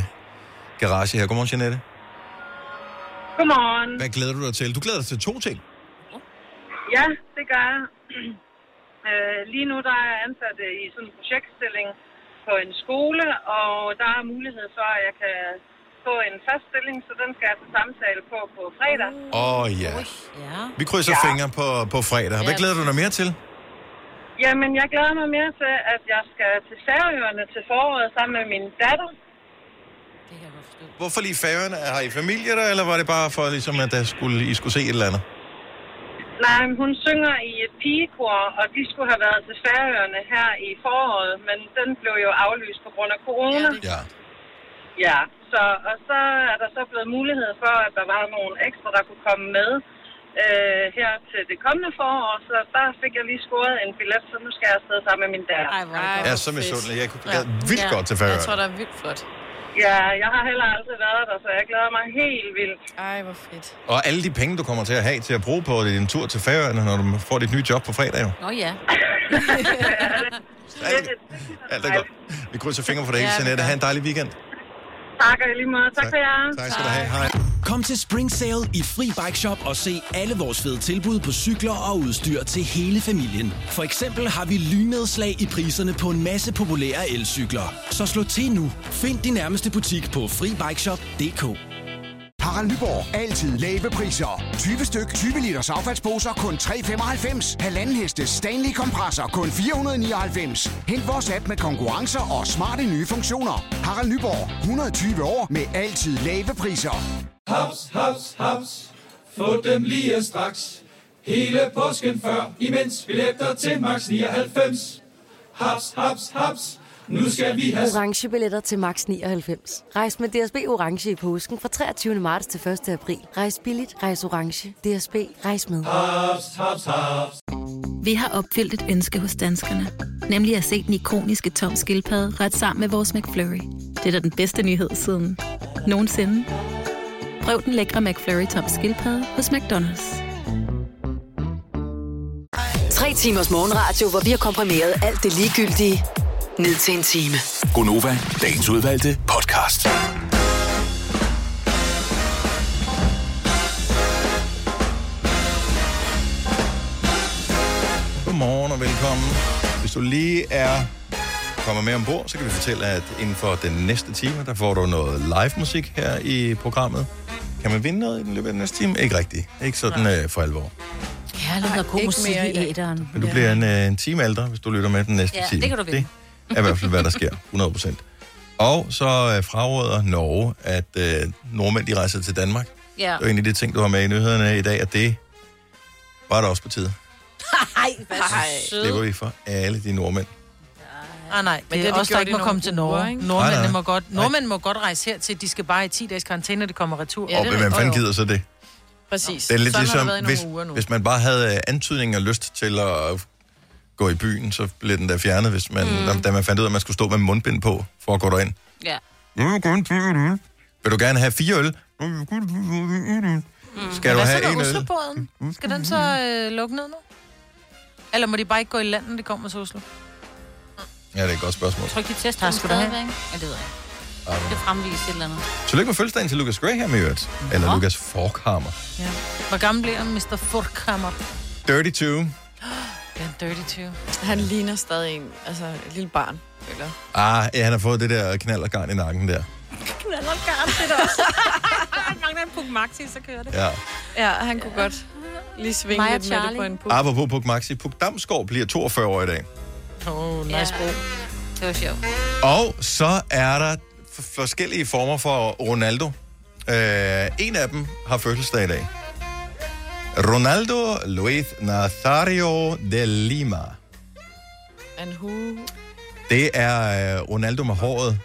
Speaker 1: garage her. Godmorgen, Jeanette.
Speaker 19: Godmorgen.
Speaker 1: Hvad glæder du dig til? Du glæder dig til to ting.
Speaker 19: Ja, det gør jeg. [clears throat] Øh, Lige nu der er jeg ansat øh, i sådan en projektstilling på en skole, og der er mulighed for, at jeg kan få en fast stilling, så den skal jeg til samtale på på fredag.
Speaker 1: Åh, oh, ja. Vi krydser
Speaker 19: Ja.
Speaker 1: fingre på, på fredag. Hvad
Speaker 19: Ja.
Speaker 1: glæder du dig mere til?
Speaker 19: Jamen, jeg glæder mig mere til, at jeg skal til Færøerne til foråret sammen med min datter.
Speaker 1: Hvorfor lige færgerne? Har I familie der, eller var det bare for, ligesom, at der skulle, I skulle se et eller andet?
Speaker 19: Nej, men hun synger i et pigekor, og de skulle have været til Færøerne her i foråret, men den blev jo aflyst på grund af corona.
Speaker 1: Ja.
Speaker 19: Ja, så, og så er der så blevet mulighed for, at der var nogle ekstra, der kunne komme med øh, her til det kommende forår, så der fik jeg lige scoret en billet, så nu skal jeg afsted sammen med min datter. Ej,
Speaker 1: Ej, ja, så misundelig. Jeg kunne ja. vildt godt til Færøerne.
Speaker 19: der er vildt flot. Ja, jeg har heller aldrig været der, så jeg glæder mig helt vildt. Ej, hvor fedt.
Speaker 1: Og alle de penge, du kommer til at have til at bruge på din tur til Færøerne, når du får dit nye job på fredag, jo.
Speaker 4: Nå ja.
Speaker 1: Alt er godt. Vi krydser fingre for dig, ja, Jeanette. Ha' en dejlig weekend.
Speaker 19: Tak og i lige måde. Tak,
Speaker 1: Tak.
Speaker 19: for jer.
Speaker 1: Tak skal du have. Hej.
Speaker 20: Kom til Spring Sale i Fri Bike Shop og se alle vores fede tilbud på cykler og udstyr til hele familien. For eksempel har vi lynedslag i priserne på en masse populære elcykler. Så slå til nu. Find din nærmeste butik på FriBikeShop.dk
Speaker 21: Harald Nyborg. Altid lave priser. 20 styk, 20 liters affaldsposer kun 3,95. Halvanden heste Stanley kompresser kun 499. Hent vores app med konkurrencer og smarte nye funktioner. Harald Nyborg. 120 år med altid lave priser.
Speaker 16: Haps, haps, haps. Få dem lige straks. Hele påsken før, imens billetter til max 99. Haps, haps, haps. Nu skal vi have
Speaker 22: Orange billetter til max 99. Rejs med DSB Orange i påsken fra 23. marts til 1. april. Rejs billigt, rejs orange. DSB, rejs med.
Speaker 16: haps, haps, haps.
Speaker 23: Vi har opfyldt et ønske hos danskerne. Nemlig at se den ikoniske tom skildpadde ret sammen med vores McFlurry. Det er da den bedste nyhed siden nogensinde. Prøv den lækre McFlurry tom skildpadde hos McDonald's.
Speaker 6: Tre timers morgenradio, hvor vi har komprimeret alt det ligegyldige ned til en time.
Speaker 7: Gonova, dagens udvalgte podcast.
Speaker 1: Godmorgen og velkommen. Hvis du lige er kommet med ombord, så kan vi fortælle, at inden for den næste time, der får du noget live musik her i programmet. Kan man vinde noget i den løbet af den næste time? Ikke rigtigt. Ikke sådan øh, for alvor.
Speaker 4: Kærlighed og god
Speaker 3: ikke
Speaker 4: musik
Speaker 3: mere i
Speaker 4: i æderen.
Speaker 1: Men du bliver en, øh, en time ældre, hvis du lytter med den næste
Speaker 4: Ja,
Speaker 1: time.
Speaker 4: det kan du vinde.
Speaker 1: Det er i hvert fald, hvad der sker. 100 procent. Og så øh, fraråder Norge, at øh, nordmænd de rejser til Danmark.
Speaker 4: Ja.
Speaker 1: Det er en af de ting, du har med i nyhederne i dag, at det var der også på tide.
Speaker 2: Ej, hvad så
Speaker 1: Det var vi for alle de nordmænd.
Speaker 2: Ah, nej, men det,
Speaker 3: det
Speaker 2: er
Speaker 3: har de
Speaker 2: også der
Speaker 3: gjort
Speaker 2: ikke
Speaker 3: i
Speaker 2: må
Speaker 3: nogle
Speaker 2: komme til
Speaker 3: uger,
Speaker 2: Norge.
Speaker 3: ikke?
Speaker 1: Nej, nej.
Speaker 2: Nordmændene må godt, nordmænd må godt rejse hertil. De skal bare i 10 dages karantæne, det kommer retur.
Speaker 1: Ja, og hvem fanden gider så det?
Speaker 3: Præcis.
Speaker 1: Det er lidt
Speaker 3: Sådan har
Speaker 1: ligesom,
Speaker 3: været i nogle
Speaker 1: hvis,
Speaker 3: uger nu.
Speaker 1: hvis man bare havde øh, antydning og lyst til at gå i byen, så blev den der fjernet, hvis man,
Speaker 4: Mm.
Speaker 1: mm. da man fandt ud af, at man skulle stå med mundbind på, for at gå derind.
Speaker 4: Ja.
Speaker 1: Jeg vil gerne have en øl. Vil du gerne have fire øl?
Speaker 2: Mm.
Speaker 1: Skal du have
Speaker 2: Hvad
Speaker 1: en øl? Mm.
Speaker 2: så med Oslobåden? Skal den så øh, lukke ned nu? Eller må de bare ikke gå i land, når de kommer til Oslo?
Speaker 1: Ja, det er et godt spørgsmål.
Speaker 4: Tryk dit test. Tak skal du have. Ja, det ved jeg.
Speaker 1: Ej,
Speaker 4: Det fremvises et eller andet.
Speaker 1: Tillykke med fødselsdagen til Lucas Graham, her med øvrigt. Eller Lucas Forkhammer.
Speaker 2: Ja. Hvor gammel bliver Mr. Furtkammer?
Speaker 1: Dirty 2.
Speaker 2: Det er en dirty 20.
Speaker 3: Han ligner
Speaker 4: [laughs]
Speaker 3: stadig en, altså, et lille barn, føler jeg.
Speaker 1: Ah, ja, han har fået det der knaldergarn i nakken der.
Speaker 4: Hun er nok garant til det også. [laughs] Han mangler en puk maxi, så kører det.
Speaker 1: Ja.
Speaker 3: Ja, han kunne godt lige svinge
Speaker 4: Mig og
Speaker 3: lidt med det
Speaker 4: Charlie.
Speaker 3: på en puk.
Speaker 1: Apropos Puk Maxi, Puk Damsgaard bliver 42 år i dag.
Speaker 2: Åh, oh, nice
Speaker 4: ja. bro. Det var sjovt.
Speaker 1: Og så er der f- forskellige former for Ronaldo. Øh, en af dem har fødselsdag i dag. Ronaldo Luis Nazario de Lima.
Speaker 3: En hu...
Speaker 1: Det er øh, Ronaldo med håret.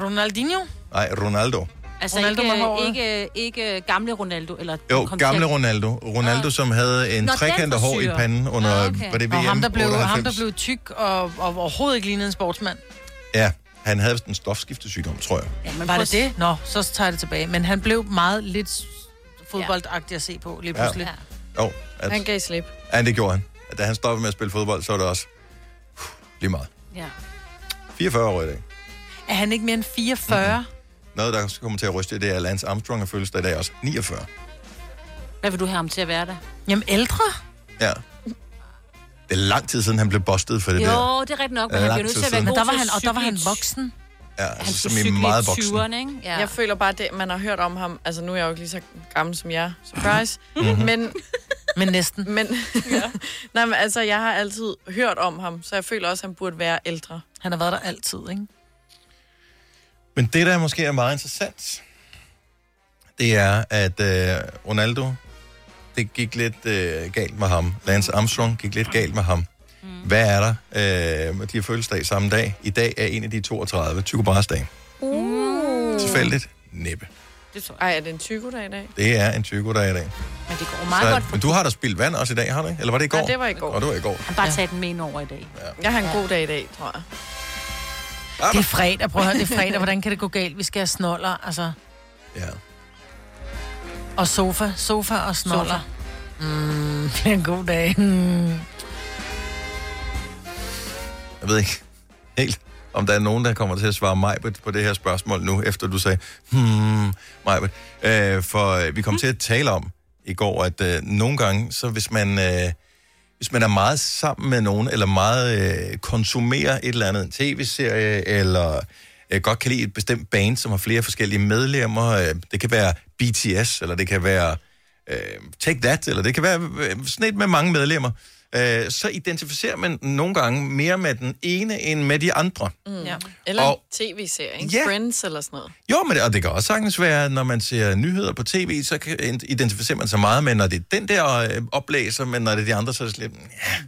Speaker 2: Ronaldinho?
Speaker 1: Nej, Ronaldo.
Speaker 4: Altså
Speaker 2: Ronaldo
Speaker 4: Ronaldo
Speaker 2: med håret.
Speaker 4: ikke, ikke, ikke gamle Ronaldo, eller
Speaker 1: Jo,
Speaker 4: kom til
Speaker 1: gamle
Speaker 4: at-
Speaker 1: Ronaldo. Ronaldo, som havde en
Speaker 4: Nå, den
Speaker 1: trekantet hår i
Speaker 4: frisyre.
Speaker 1: panden under
Speaker 2: Ah,
Speaker 1: okay. var det VM
Speaker 2: og ham, der blev, ham, der
Speaker 1: 98.
Speaker 2: blev tyk og, og overhovedet ikke lignede en sportsmand.
Speaker 1: Ja, han havde en stofskiftesygdom, tror jeg.
Speaker 2: Ja, men var det det? Nå, så tager jeg det tilbage. Men han blev meget lidt s- fodboldagtig at se på lige
Speaker 1: Ja.
Speaker 2: pludselig.
Speaker 1: Ja. Jo, at,
Speaker 3: Han gav slip.
Speaker 1: ja, det gjorde han. At da han stoppede med at spille fodbold, så var det også puh, lige meget.
Speaker 2: Ja.
Speaker 1: 44 år i dag.
Speaker 2: Er han ikke mere end 44?
Speaker 1: Mm.
Speaker 2: Mm-hmm.
Speaker 1: Noget, der kommer til at ryste, det er at Lance Armstrong har fødselsdag i dag også. 49.
Speaker 4: Hvad vil du have ham til at være der?
Speaker 2: Jamen ældre?
Speaker 1: Ja. Det er lang tid siden, han blev bustet for det
Speaker 4: jo,
Speaker 1: der.
Speaker 4: det er rigtigt nok,
Speaker 1: Ja,
Speaker 4: men han
Speaker 1: lang
Speaker 4: bliver nødt
Speaker 1: tid
Speaker 4: til at være
Speaker 1: siden.
Speaker 4: god
Speaker 1: Men der
Speaker 2: var
Speaker 4: til
Speaker 2: han-
Speaker 4: at
Speaker 2: og der var
Speaker 4: cykle
Speaker 2: han
Speaker 4: i-
Speaker 2: voksen.
Speaker 1: Ja, altså,
Speaker 4: skulle
Speaker 1: som i
Speaker 4: cykle i
Speaker 1: meget voksen.
Speaker 4: 20'erne, ikke?
Speaker 3: Ja. Jeg føler bare, det, man har hørt om ham. Altså, nu er jeg jo ikke lige så gammel som jer.
Speaker 1: [laughs]
Speaker 3: Surprise.
Speaker 1: Mhm.
Speaker 3: Men...
Speaker 2: Men næsten.
Speaker 3: [laughs] Men, ja. Nej, men altså, jeg har altid hørt om ham, så jeg føler også, at han burde være ældre.
Speaker 2: Han har været der altid, ikke?
Speaker 1: Men det, der måske er meget interessant, det er, at øh, Ronaldo, det gik lidt øh, galt med ham. Lance Armstrong gik lidt galt med ham. Mm. Hvad er der? Øh, de har fødselsdag samme dag. I dag er en af de 32, Tycho Brahes dag.
Speaker 4: Mm.
Speaker 3: Uh.
Speaker 1: Mm. Tilfældigt? Næppe.
Speaker 3: Det tror jeg. Ej, er det en tykodag i dag?
Speaker 1: Det er en Tycho, der er i dag.
Speaker 4: Men det går
Speaker 1: Så-
Speaker 4: meget godt.
Speaker 1: men du har da spildt vand også i dag, har du ikke? Eller var det i går?
Speaker 3: Nej, det var i går.
Speaker 1: Og det var i går.
Speaker 4: Han bare tager den med ind over i dag. Ja.
Speaker 3: Jeg har en god dag i dag, tror jeg.
Speaker 2: Det er fredag, prøv at høre, det er fredag. Hvordan kan det gå galt? Vi skal have snoller, altså.
Speaker 1: Ja.
Speaker 2: Og sofa, sofa og snoller.
Speaker 4: Sofa.
Speaker 2: Mm, det er en god dag. Mm.
Speaker 1: Jeg ved ikke helt, om der er nogen, der kommer til at svare Majbet på det her spørgsmål nu, efter du sagde, hmm, Majbet. Øh, for øh, vi
Speaker 3: Hmm.
Speaker 1: kom til at tale om i går, at øh, nogle gange, så hvis man, øh, hvis man er meget sammen med nogen, eller meget øh, konsumerer et eller andet, en tv-serie, eller øh, godt kan lide et bestemt band, som har flere forskellige medlemmer, øh, det kan være BTS, eller det kan være øh, Take That, eller det kan være øh, sådan et med mange medlemmer, øh, så identificerer man nogle gange mere med den ene end med de andre.
Speaker 3: Mm. Ja. Eller
Speaker 1: Og-
Speaker 3: og... tv-serie, ikke?
Speaker 1: Ja.
Speaker 3: Friends eller sådan noget.
Speaker 1: Jo, men det, og det kan også sagtens være, når man ser nyheder på tv, så kan, identificerer man sig meget med, når det er den der øh, oplæser, men når det er de andre, så er det sådan lidt, ja, jeg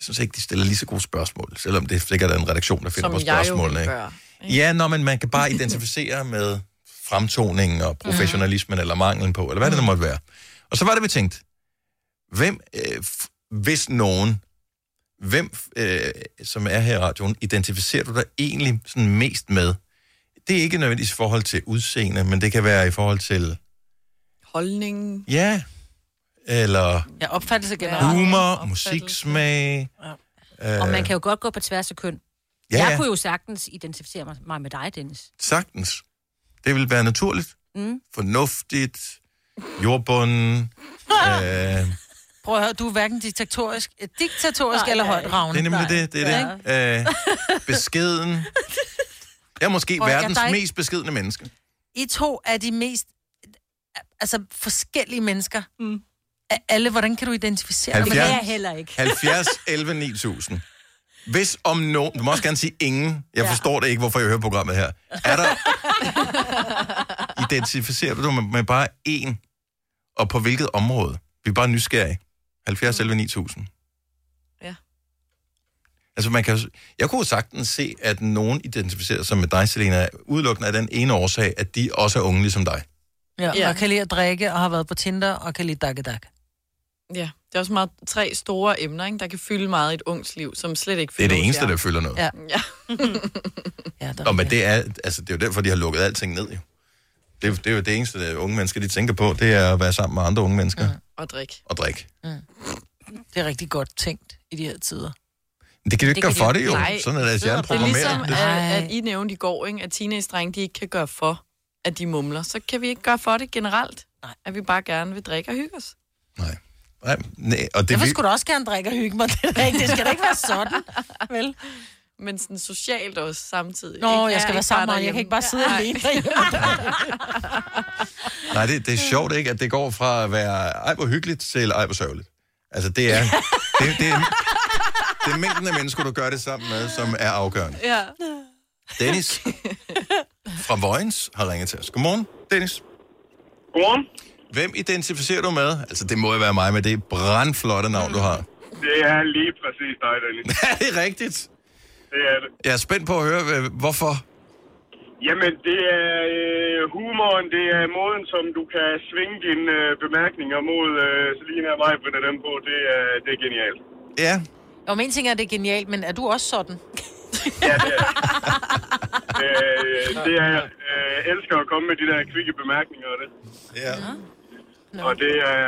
Speaker 1: synes ikke, de stiller lige så gode spørgsmål, selvom det sikkert er en redaktion, der finder
Speaker 3: Som
Speaker 1: på
Speaker 3: jeg jo
Speaker 1: spørgsmålene.
Speaker 3: ville
Speaker 1: ikke?
Speaker 3: gøre,
Speaker 1: Ja, når man, man kan bare identificere med fremtoningen og professionalismen eller manglen på, eller hvad det nu måtte være. Og så var det, vi tænkte, hvem, øh, f- hvis nogen, hvem, øh, som er her i radioen, identificerer du dig egentlig sådan mest med? Det er ikke nødvendigvis i forhold til udseende, men det kan være i forhold til,
Speaker 3: Holdningen.
Speaker 1: ja, eller
Speaker 2: Ja, opfattelse generelt.
Speaker 1: humor, musiksmag. Øh,
Speaker 4: Og man kan jo godt gå på tværs af køn.
Speaker 1: Ja,
Speaker 4: Ja, jeg
Speaker 1: ja.
Speaker 4: kunne jo sagtens identificere mig- mig med dig, Dennis.
Speaker 1: Sagtens. Det vil være naturligt,
Speaker 4: Mm.
Speaker 1: fornuftigt,
Speaker 4: [laughs]
Speaker 1: jordbunden, øh,
Speaker 2: Prøv at høre, du er hverken diktatorisk, eh, diktatorisk
Speaker 4: Nej,
Speaker 2: eller
Speaker 4: nej.
Speaker 2: højt ravne.
Speaker 1: Det er nemlig det, det er det. Øh, beskeden. Jeg er måske
Speaker 2: Prøv,
Speaker 1: Prøv,
Speaker 2: jeg-
Speaker 1: verdens
Speaker 2: der er
Speaker 1: jeg,
Speaker 2: ikke-
Speaker 1: mest beskedende menneske.
Speaker 2: I to er de mest altså, forskellige mennesker. Mm. Af alle, hvordan kan du identificere dig? Men det er jeg heller ikke.
Speaker 1: 70, 11, 9000. Hvis om nogen, du må også gerne sige ingen, jeg
Speaker 2: Ja.
Speaker 1: ja. forstår det ikke, hvorfor jeg hører programmet her. Er der, identificerer du dig med, med bare én, og på hvilket område? Vi er bare nysgerrige. 70, 11, 9000.
Speaker 3: Ja.
Speaker 1: Altså man kan, jo- jeg kunne jo sagtens se, at nogen identificerer sig med dig, Selena, udelukkende af den ene årsag, at de også er unge ligesom dig.
Speaker 2: Ja, ja. Og kan lide at drikke, og har været på Tinder, og kan lide dakke dakke.
Speaker 3: Ja, det er også meget tre store emner, ikke? der kan fylde meget i et ungs liv, som slet ikke
Speaker 1: Det er
Speaker 3: fylder
Speaker 1: det
Speaker 3: hos
Speaker 1: eneste,
Speaker 3: jer.
Speaker 1: der fylder noget.
Speaker 2: Ja.
Speaker 3: ja. [laughs]
Speaker 1: Nå, men det er, altså, det er jo derfor, de har lukket alting ned, jo. Det, er- det er jo det eneste, der unge mennesker, de tænker på, det er at være sammen med andre unge mennesker mm.
Speaker 3: Og drik.
Speaker 1: og drikke.
Speaker 2: Det er rigtig godt tænkt i de her tider.
Speaker 1: Men Det kan du ikke gøre for det, jo.
Speaker 3: Nej,
Speaker 1: Sådan er øh, deres hjerne
Speaker 3: Det er ligesom,
Speaker 1: programmeret. Det-
Speaker 3: at, at I nævnte i går, ikke? at teenage-drenge, de ikke kan gøre for, at de mumler. Så kan vi ikke gøre for det generelt, Nej. at vi bare gerne vil drikke og hygge os.
Speaker 1: Nej, nej, og det,
Speaker 2: jeg vil
Speaker 1: vi,
Speaker 2: [laughs] sgu da også gerne drikke og hygge mig. Det, er da ikke, det skal da ikke være sådan, vel?
Speaker 3: men sådan socialt også samtidig.
Speaker 2: Nå,
Speaker 3: Ikke
Speaker 2: jeg
Speaker 3: er
Speaker 2: skal være
Speaker 3: ikke
Speaker 2: sammen med
Speaker 3: bare
Speaker 2: ham. Jeg kan ikke bare sidde
Speaker 3: derhjemme.
Speaker 2: alene
Speaker 3: Ja.
Speaker 1: Nej, det, det er sjovt ikke, at det går fra at være ej hvor hyggeligt til ej hvor sørgeligt. Altså, det [laughs] er, det, det, er, det er mængden af mennesker, du gør det sammen med, som er afgørende.
Speaker 3: Ja.
Speaker 1: Dennis fra Vojens har ringet til os. Godmorgen, Dennis.
Speaker 5: Godmorgen.
Speaker 1: Hvem identificerer du med? Altså, det må jo være mig med det brandflotte navn, du har.
Speaker 5: Det er lige præcis dig, Dennis.
Speaker 1: [laughs] er det rigtigt?
Speaker 5: Det er det.
Speaker 1: Jeg er spændt på at høre, øh, hvorfor.
Speaker 5: Jamen, det er øh, humoren, det er måden, som du kan svinge dine øh, bemærkninger mod øh, Selina og mig, Britta, dem på. Det er, det er genialt.
Speaker 1: Ja.
Speaker 2: Og men en ting er, at det er genialt, men er du også sådan?
Speaker 5: Øh, det er, øh, elsker at komme med de der kvikke bemærkninger og det.
Speaker 1: Ja.
Speaker 5: Og det er,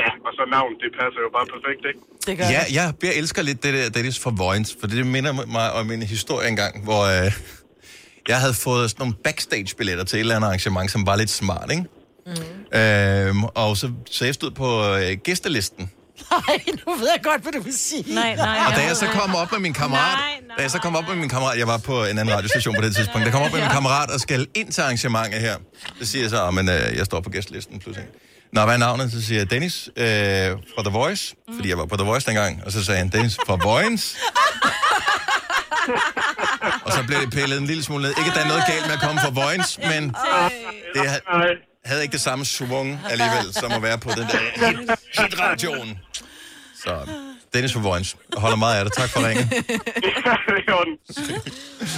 Speaker 5: ja, og så navn, det passer jo bare perfekt, ikke?
Speaker 2: Det
Speaker 1: Ja, jeg, jeg elsker lidt det der Dennis fra Vojens, for det minder mig om en historie engang, hvor øh, jeg havde fået sådan nogle backstage-billetter til et eller andet arrangement, som var lidt smart, ikke? Mm. Øhm, og så, så jeg stod på øh, gæstelisten,
Speaker 2: Nej, nu ved jeg godt, hvad du vil sige. Nej, nej.
Speaker 1: Og da jeg så kom op med min kammerat, da jeg så kom op med min kammerat, jeg var på en anden radiostation på det tidspunkt, der kom op med min
Speaker 2: Ja.
Speaker 1: kammerat og skal ind til arrangementet her. Så siger jeg så, men øh, jeg står på gæstlisten pludselig. Nå, hvad er navnet? Så siger jeg Dennis øh, fra The Voice, fordi jeg var på The Voice dengang. Og så sagde han, Dennis fra Vojens. og så blev det pillet en lille smule ned. Ikke, at der er noget galt med at komme fra Vojens, men det havde, havde ikke det samme svung alligevel, som at være på den der hit, hitradioen. Så Dennis fra Vojens. Jeg holder meget af dig. Tak for ringen.
Speaker 3: [laughs]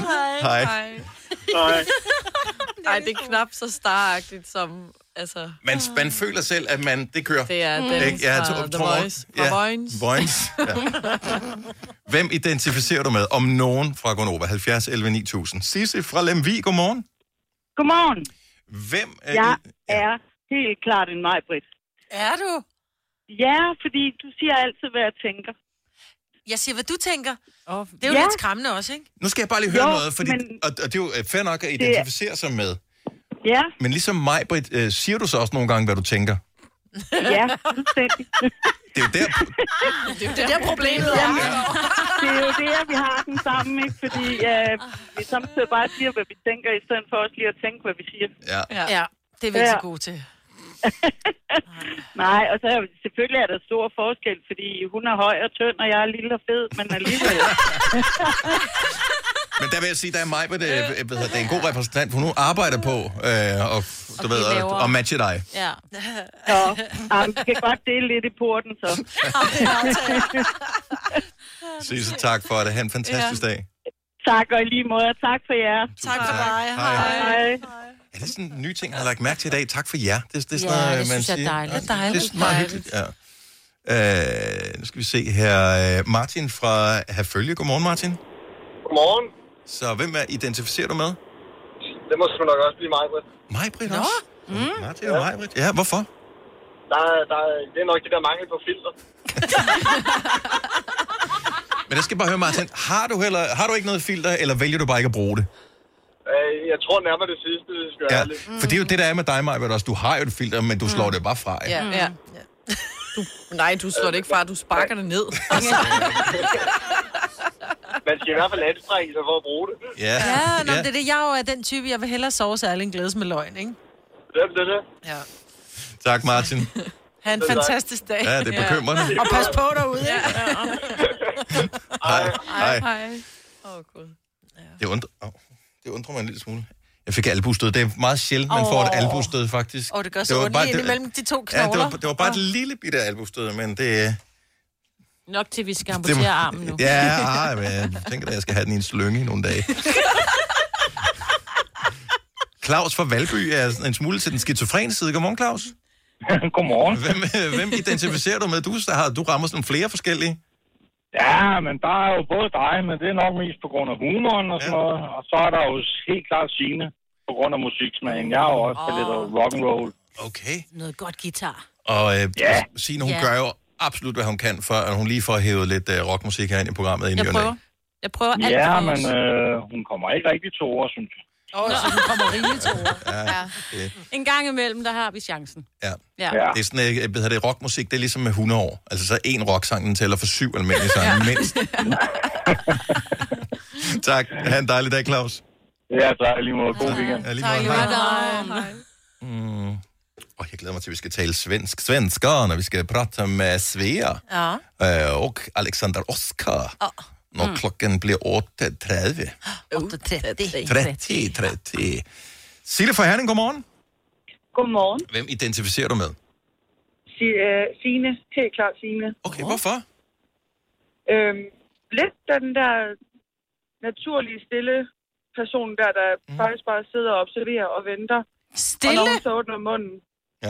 Speaker 1: Hej.
Speaker 5: Hej.
Speaker 3: Ej, det er knap så staragtigt som, altså...
Speaker 1: Man, man føler selv, at man, det kører.
Speaker 3: Det er Dennis
Speaker 1: Ikke? jeg
Speaker 3: fra
Speaker 1: tror-
Speaker 3: The
Speaker 1: tror-
Speaker 3: Voice. Fra Vojens.
Speaker 1: Vojens, ja. Hvem identificerer du med, om nogen fra Gonova? 70 11 9000. Sisse fra Lemvi, godmorgen.
Speaker 18: Godmorgen.
Speaker 1: Hvem er
Speaker 18: Jeg
Speaker 1: ja.
Speaker 18: er helt klart en mig, Britt.
Speaker 2: Er du?
Speaker 18: Ja, fordi du siger altid, hvad jeg tænker.
Speaker 2: Jeg siger, hvad du tænker. Oh, det er jo
Speaker 18: Ja.
Speaker 2: ja. lidt skræmmende også, ikke?
Speaker 1: Nu skal jeg bare lige høre
Speaker 18: Jo,
Speaker 1: jo, noget, fordi, men...
Speaker 18: men-
Speaker 1: og, og det er jo øh, fair nok at identificere sig med.
Speaker 18: Ja,
Speaker 1: Men ligesom mig, Britt, øh, siger du så også nogle gange, hvad du tænker?
Speaker 18: ja, fuldstændig.
Speaker 1: Det er jo
Speaker 18: det
Speaker 1: der,
Speaker 18: er jo
Speaker 2: det der problemet er.
Speaker 18: Jamen, det er jo det, at vi har den sammen, ikke? Fordi øh, vi samtidig bare siger, hvad vi tænker, i stedet for også lige at tænke, hvad vi siger.
Speaker 1: Ja.
Speaker 18: Ja.
Speaker 2: ja det er vi ikke
Speaker 18: Ja.
Speaker 2: så gode til.
Speaker 18: Nej, og så er jo- selvfølgelig er der stor forskel, fordi hun er høj og tynd, og jeg er lille og fed, men alligevel...
Speaker 1: Men der vil jeg sige, der er mig, det,
Speaker 3: Øh.
Speaker 1: det er en god repræsentant, for hun arbejder på øh, og,
Speaker 18: Og
Speaker 1: [laughs] du ved,
Speaker 18: blive
Speaker 1: og,
Speaker 18: lavere.
Speaker 1: og matche dig.
Speaker 18: Ja. Nå, jamen, vi kan godt dele lidt i porten,
Speaker 2: [laughs]
Speaker 18: så.
Speaker 1: Sisse, tak for det. Ha' en fantastisk ja. dag.
Speaker 18: tak, og i lige måde, og tak for jer.
Speaker 2: Tak for dig.
Speaker 1: Hej.
Speaker 18: Hej.
Speaker 1: Er det sådan en ny ting, jeg har lagt mærke til i dag? Tak for jer. Det, det er sådan
Speaker 2: Ja,
Speaker 1: noget,
Speaker 2: det
Speaker 1: man
Speaker 2: synes jeg er
Speaker 1: siger.
Speaker 2: dejligt.
Speaker 1: Ja,
Speaker 2: Dejligt,
Speaker 1: Det er meget hyggeligt, ja. Øh, nu skal vi se her. Øh, Martin fra Herfølge. Godmorgen, Martin.
Speaker 11: Godmorgen.
Speaker 1: Så hvem er, identificerer du med?
Speaker 11: Det må sgu nok også blive mig, Britt.
Speaker 1: Mig, Britt også? Mm. Martin og mig, Britt. Ja, hvorfor?
Speaker 11: Der, er- der, er- det er nok det der mangel på filter.
Speaker 4: [laughs]
Speaker 1: Men jeg skal bare høre, Martin. Har du, heller, har du ikke noget filter, eller vælger du bare ikke at bruge det?
Speaker 11: Øh, jeg tror nærmere det sidste, hvis jeg skal være
Speaker 1: Ja.
Speaker 11: ærlig.
Speaker 1: For det er jo det, der er med dig, Maja, også. Du har jo et filter, men du
Speaker 2: Mm.
Speaker 1: slår det bare fra. ikke?
Speaker 3: Ja, Mm. ja. Du, nej, du slår det ikke fra, du sparker [laughs] det ned. Altså.
Speaker 11: Man skal i hvert fald anstrenge sig for at bruge det.
Speaker 1: Ja,
Speaker 2: Ja, nå, men det er det. Jeg er jo er den type, jeg vil hellere sove særlig end glædes med løgn, ikke?
Speaker 11: Det er det.
Speaker 2: Ja.
Speaker 1: Tak, Martin.
Speaker 2: Ha' en
Speaker 11: Det er
Speaker 2: fantastisk dag.
Speaker 11: dejligt.
Speaker 1: Ja, det er bekymrende.
Speaker 2: Og pas på derude, ikke?
Speaker 1: [laughs] Hej.
Speaker 3: Hej.
Speaker 1: Hej.
Speaker 3: Hej. Åh, oh, Gud.
Speaker 1: Det undrer, oh, det undrer mig en lille smule. Jeg fik albustød. Det er meget sjældent, man får et
Speaker 2: Åh.
Speaker 1: albustød, faktisk.
Speaker 2: Åh, det gør så
Speaker 1: var
Speaker 2: ondt
Speaker 1: bare-
Speaker 2: lige ind
Speaker 1: det-
Speaker 2: imellem de to knogler.
Speaker 1: Ja, det var, det var bare et lille bitte albustød, men det... øh,
Speaker 4: Nok til, vi skal
Speaker 1: det
Speaker 4: amputere armen nu.
Speaker 1: Ja, ah, men jeg tænker da, jeg skal have den i en slynge i nogle
Speaker 2: [laughs]
Speaker 1: dage. Claus fra Valby er sådan en smule til den skizofrene side. Godmorgen, Claus.
Speaker 9: Godmorgen.
Speaker 1: Hvem, øh, hvem identificerer du med? Du, så har, du rammer sådan flere forskellige.
Speaker 9: Ja, men der er jo både dig, men det er nok mest på grund af humoren og sådan noget. Og så er der jo helt klart sine på grund af musiksmagen. Jeg er jo også på lidt af rock'n'roll.
Speaker 1: Okay.
Speaker 4: Noget godt guitar.
Speaker 1: Og øh, ja. Signe, hun
Speaker 4: Ja.
Speaker 1: gør jo absolut, hvad hun kan, for at hun lige får hævet lidt øh, rockmusik her ind i programmet. Ind i
Speaker 4: Jeg
Speaker 1: ny og næ.
Speaker 4: prøver. Jeg prøver alt
Speaker 9: Ja,
Speaker 4: for os.
Speaker 9: men øh, hun kommer ikke rigtig til ord, synes jeg.
Speaker 4: Åh, så hun kommer rigeligt til ord.
Speaker 1: Ja.
Speaker 4: Ja.
Speaker 1: Det,
Speaker 4: En gang imellem, der har vi chancen.
Speaker 1: ja.
Speaker 4: Ja.
Speaker 1: Det er sådan, øh, hvad hedder det, rockmusik, det er ligesom med 100
Speaker 4: [laughs]
Speaker 1: [laughs] år. Altså så en rocksang, den tæller for syv almindelige sange, mindst. tak. Ha' en dejlig dag, Claus.
Speaker 10: Ja, tak. Lige måde. God weekend.
Speaker 1: Ja, lige måde. Hej. Mm. Oh, jeg glæder mig til, at vi skal tale svensk. Svensker, når vi skal prate med Svea.
Speaker 2: Ja.
Speaker 1: Øh, og Alexander Oskar. Når klokken bliver 8.30.
Speaker 2: 8.30.
Speaker 1: 30, 30. Sille fra Herning, godmorgen.
Speaker 11: Godmorgen.
Speaker 1: Hvem identificerer du med?
Speaker 11: Si- øh, Signe. Helt klart Signe.
Speaker 1: Okay, hvorfor?
Speaker 11: Øhm, lidt af den der naturlige, stille person der, der mm. faktisk bare sidder og observerer og venter.
Speaker 2: Stille?
Speaker 11: Og når hun så åbner munden.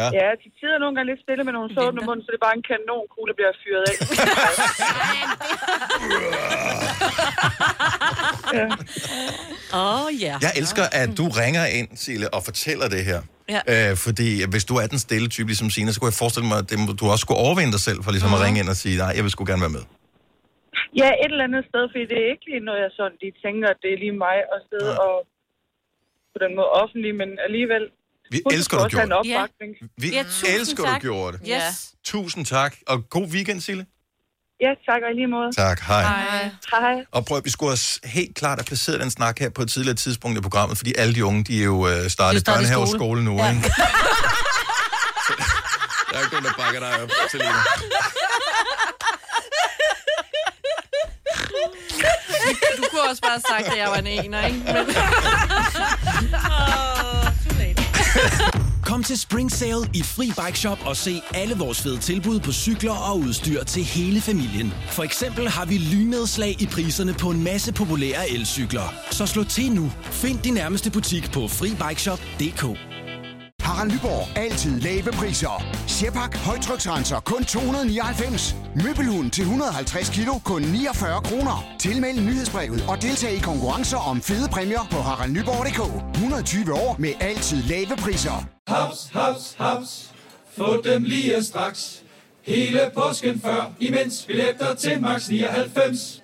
Speaker 1: Ja.
Speaker 11: ja, de sidder nogle gange lidt stille, men når hun så åbner munden, så er det bare en kanonkugle, der bliver fyret af.
Speaker 4: Åh, oh, ja.
Speaker 1: Jeg elsker, at du ringer ind, Sille, og fortæller det her.
Speaker 4: Ja.
Speaker 1: Øh, fordi hvis du er den stille type, ligesom Signe, så kunne jeg forestille mig, at det må- du også skulle overvinde dig selv for ligesom mm. at ringe ind og sige, nej, jeg vil sgu gerne være med.
Speaker 11: Ja, et eller andet sted, fordi det er ikke lige noget, jeg sådan lige tænker, at det er lige mig at sidde ja. og på den måde offentlig, men alligevel...
Speaker 1: Vi
Speaker 11: Hun
Speaker 1: elsker,
Speaker 11: skal
Speaker 1: du
Speaker 11: også have
Speaker 1: gjorde
Speaker 11: en
Speaker 1: det.
Speaker 11: opbakning.
Speaker 1: Vi elsker, du gjorde det.
Speaker 11: Ja.
Speaker 1: Tusind tak, og god weekend, Sille.
Speaker 11: ja, tak og i lige måde.
Speaker 1: Tak, hej.
Speaker 11: Hej.
Speaker 1: Og prøv, at- vi skulle også helt klart have placeret den snak her på et tidligere tidspunkt i programmet, fordi alle de unge, de er jo øh, startet i
Speaker 11: startet i
Speaker 1: børnehave og
Speaker 11: skole.
Speaker 1: skole nu, ja. [laughs] ikke? Der er ikke nogen, der bakker dig op, Selina.
Speaker 3: Du kunne også bare have sagt, at jeg var en ener, ikke? Men...
Speaker 20: Kom til Spring Sale i Fri Bike Shop og se alle vores fede tilbud på cykler og udstyr til hele familien. For eksempel har vi lynedslag i priserne på en masse populære elcykler. Så slå til nu. Find din nærmeste butik på FriBikeShop.dk.
Speaker 21: Harald Nyborg. Altid lave priser. Sjehpak. Højtryksrenser. Kun 299. Møbelhund til 150 kilo. Kun 49 kroner. Tilmeld nyhedsbrevet og deltag i konkurrencer om fede præmier på haraldnyborg.dk. 120 år med altid lave priser.
Speaker 16: Haps, haps, haps. Få dem lige straks. Hele påsken før, imens billetter til max 99.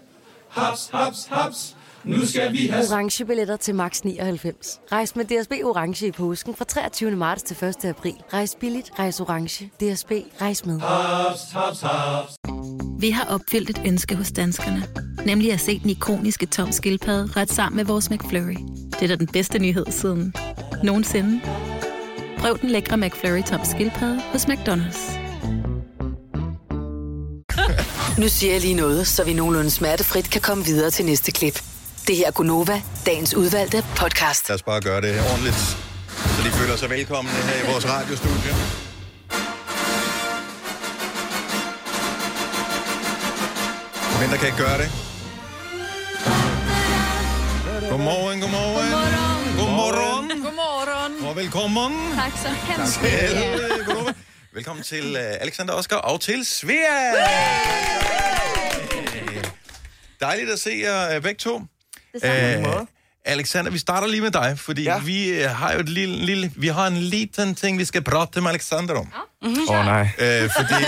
Speaker 16: Haps, haps, haps. Nu skal vi have
Speaker 22: orange billetter til max 99. Rejs med DSB orange i påsken fra 23. marts til 1. april. Rejs billigt, rejs orange. DSB rejs med.
Speaker 16: haps, haps, haps.
Speaker 23: Vi har opfyldt et ønske hos danskerne. Nemlig at se den ikoniske tom skildpadde ret sammen med vores McFlurry. Det er da den bedste nyhed siden nogensinde. Prøv den lækre McFlurry tom skildpadde hos McDonald's.
Speaker 6: Nu siger jeg lige noget, så vi nogenlunde smertefrit kan komme videre til næste klip. Det her er Gunova, dagens udvalgte podcast.
Speaker 1: Lad os bare gøre det ordentligt, så de føler sig velkomne her i vores radiostudie. Hvem der kan ikke gøre det? Godmorgen, godmorgen. Godmorgen.
Speaker 3: Godmorgen.
Speaker 1: Og velkommen.
Speaker 23: Tak så
Speaker 1: Tak. Selv, Gunova. Velkommen til uh, Alexander Oskar og til Svea. Dejligt at se jer øh, begge to.
Speaker 12: Det samme.
Speaker 1: Øh, Alexander, vi starter lige med dig, fordi ja. vi øh, har jo et lille, lille, vi har en liten ting, vi skal prate med Alexander om.
Speaker 14: Mhm.
Speaker 12: Åh oh, nej,
Speaker 1: Øh, fordi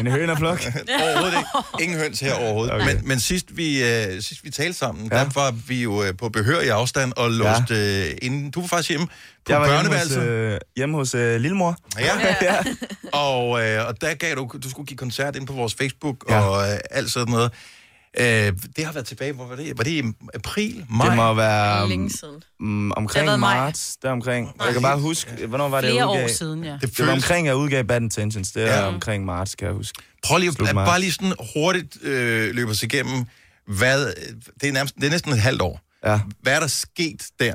Speaker 12: en hønerflok.
Speaker 1: [laughs] overhovedet ikke. Ingen høns her overhovedet. Okay. Men, men sidst, vi, øh, sidst vi talte sammen, ja. der var vi jo øh, på behør i afstand og låst ja. øh, inden. Du var faktisk hjemme på
Speaker 12: Jeg var hjemme hos,
Speaker 1: børneværelset.
Speaker 12: øh, hjemme hos øh, lillemor. [laughs]
Speaker 1: Ja. ja. og, øh, og der gav du, du skulle give koncert ind på vores Facebook ja. og øh, alt sådan noget. Øh, det har været tilbage, hvor var det? Var det i april, maj?
Speaker 12: Det må være um,
Speaker 1: Længe
Speaker 3: siden.
Speaker 12: Mm,
Speaker 1: Det har været
Speaker 12: omkring
Speaker 1: maj.
Speaker 12: marts, der omkring. Jeg kan bare huske, hvornår var det, jeg
Speaker 1: Flere
Speaker 12: udgav?
Speaker 1: år siden, ja. Det
Speaker 12: Det, det var
Speaker 1: føles-
Speaker 12: omkring, jeg udgav Bad Intentions. Det er ja. omkring marts, kan jeg huske.
Speaker 1: Prøv lige
Speaker 12: Slut
Speaker 1: at,
Speaker 12: marts.
Speaker 1: bare lige sådan hurtigt øh, løbe os igennem, hvad, det, er nærmest, det er næsten et halvt år.
Speaker 12: Ja.
Speaker 1: Hvad er der sket der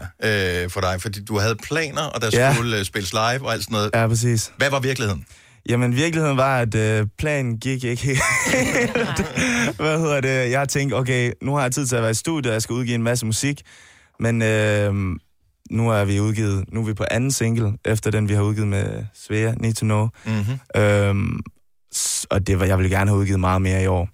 Speaker 1: øh, for dig? Fordi du havde planer, og der
Speaker 12: Ja.
Speaker 1: skulle øh, spilles live og alt sådan noget.
Speaker 12: Ja, præcis.
Speaker 1: Hvad var virkeligheden?
Speaker 12: Jamen, virkeligheden var, at øh, planen gik ikke helt. Hvad hedder det? Jeg tænkte, okay, nu har jeg tid til at være i studiet, og jeg skal udgive en masse musik. Men øh, nu er vi udgivet, nu er vi på anden single, efter den, vi har udgivet med Svea, Need to Know.
Speaker 1: Mm-hmm.
Speaker 12: Øhm, s- og det var, jeg ville gerne have udgivet meget mere i år.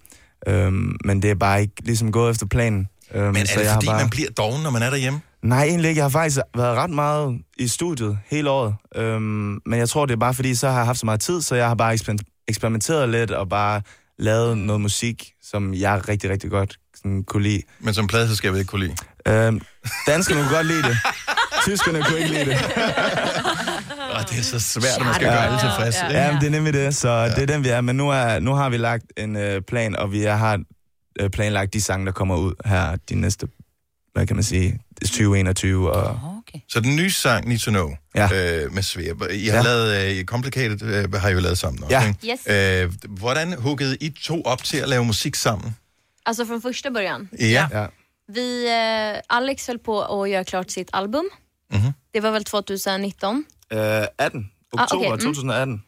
Speaker 12: Øhm, men det er bare ikke ligesom gået efter planen. Øhm,
Speaker 1: Men er det fordi, man bliver doven, når man er derhjemme?
Speaker 12: Nej, egentlig ikke. Jeg har faktisk været ret meget i studiet hele året. Øhm, men jeg tror, det er bare fordi, så har jeg haft så meget tid, så jeg har bare eksper- eksperimenteret lidt og bare lavet noget musik, som jeg rigtig, rigtig godt sådan, kunne lide.
Speaker 1: Men som pladeselskabet ikke kunne lide?
Speaker 12: Øhm, danskerne kunne godt lide
Speaker 1: [laughs]
Speaker 12: det. Tyskerne kunne ikke lide det.
Speaker 1: Og det er så svært, at man skal gøre alle tilfredse.
Speaker 12: Ja,
Speaker 1: ikke?
Speaker 12: ja men det er nemlig det, så ja. det er den, vi er. Men nu, er, nu har vi lagt en øh, plan, og vi er, har øh, planlagt de sange, der kommer ud her de næste, hvad kan man sige, 2021 og...
Speaker 1: Så den nye sang, Need to Know,
Speaker 12: ja.
Speaker 1: øh, med Svea. I har ja.
Speaker 12: Ja.
Speaker 1: lavet, øh, Complicated øh, har I jo lavet sammen også,
Speaker 12: Ja.
Speaker 13: Yes.
Speaker 1: ikke? Øh, hvordan huggede I to op till att lave musik sammen?
Speaker 13: Alltså från första början.
Speaker 1: Ja. ja.
Speaker 13: Vi, eh, Alex höll på att göra klart sitt album.
Speaker 12: Mhm.
Speaker 13: Det var väl 2019.
Speaker 12: Øh, 18.
Speaker 13: Ah,
Speaker 12: Oktober
Speaker 13: okay, mm.
Speaker 12: 2018.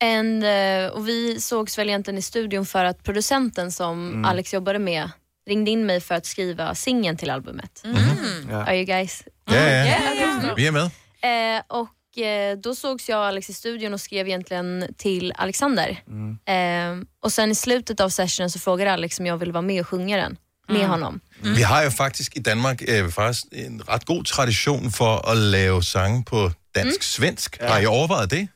Speaker 13: And, eh, och vi sågs väl egentligen i studion för att producenten som
Speaker 12: Mm.
Speaker 13: Alex jobbade med ringde in mig för att skriva singeln till albumet. Are you guys?
Speaker 1: Ja, ja. Vi är med.
Speaker 13: Eh, och eh, då sågs jag och Alex i studion och skrev egentligen till Alexander.
Speaker 1: Mm.
Speaker 13: Eh, och sen i slutet av sessionen så frågade Alex om jag ville vara med och sjunga den med honom.
Speaker 1: Vi har jo faktisk i Danmark øh, faktisk en ret god tradition for at lave sange på dansk-svensk. Mm. Har I overvejet det?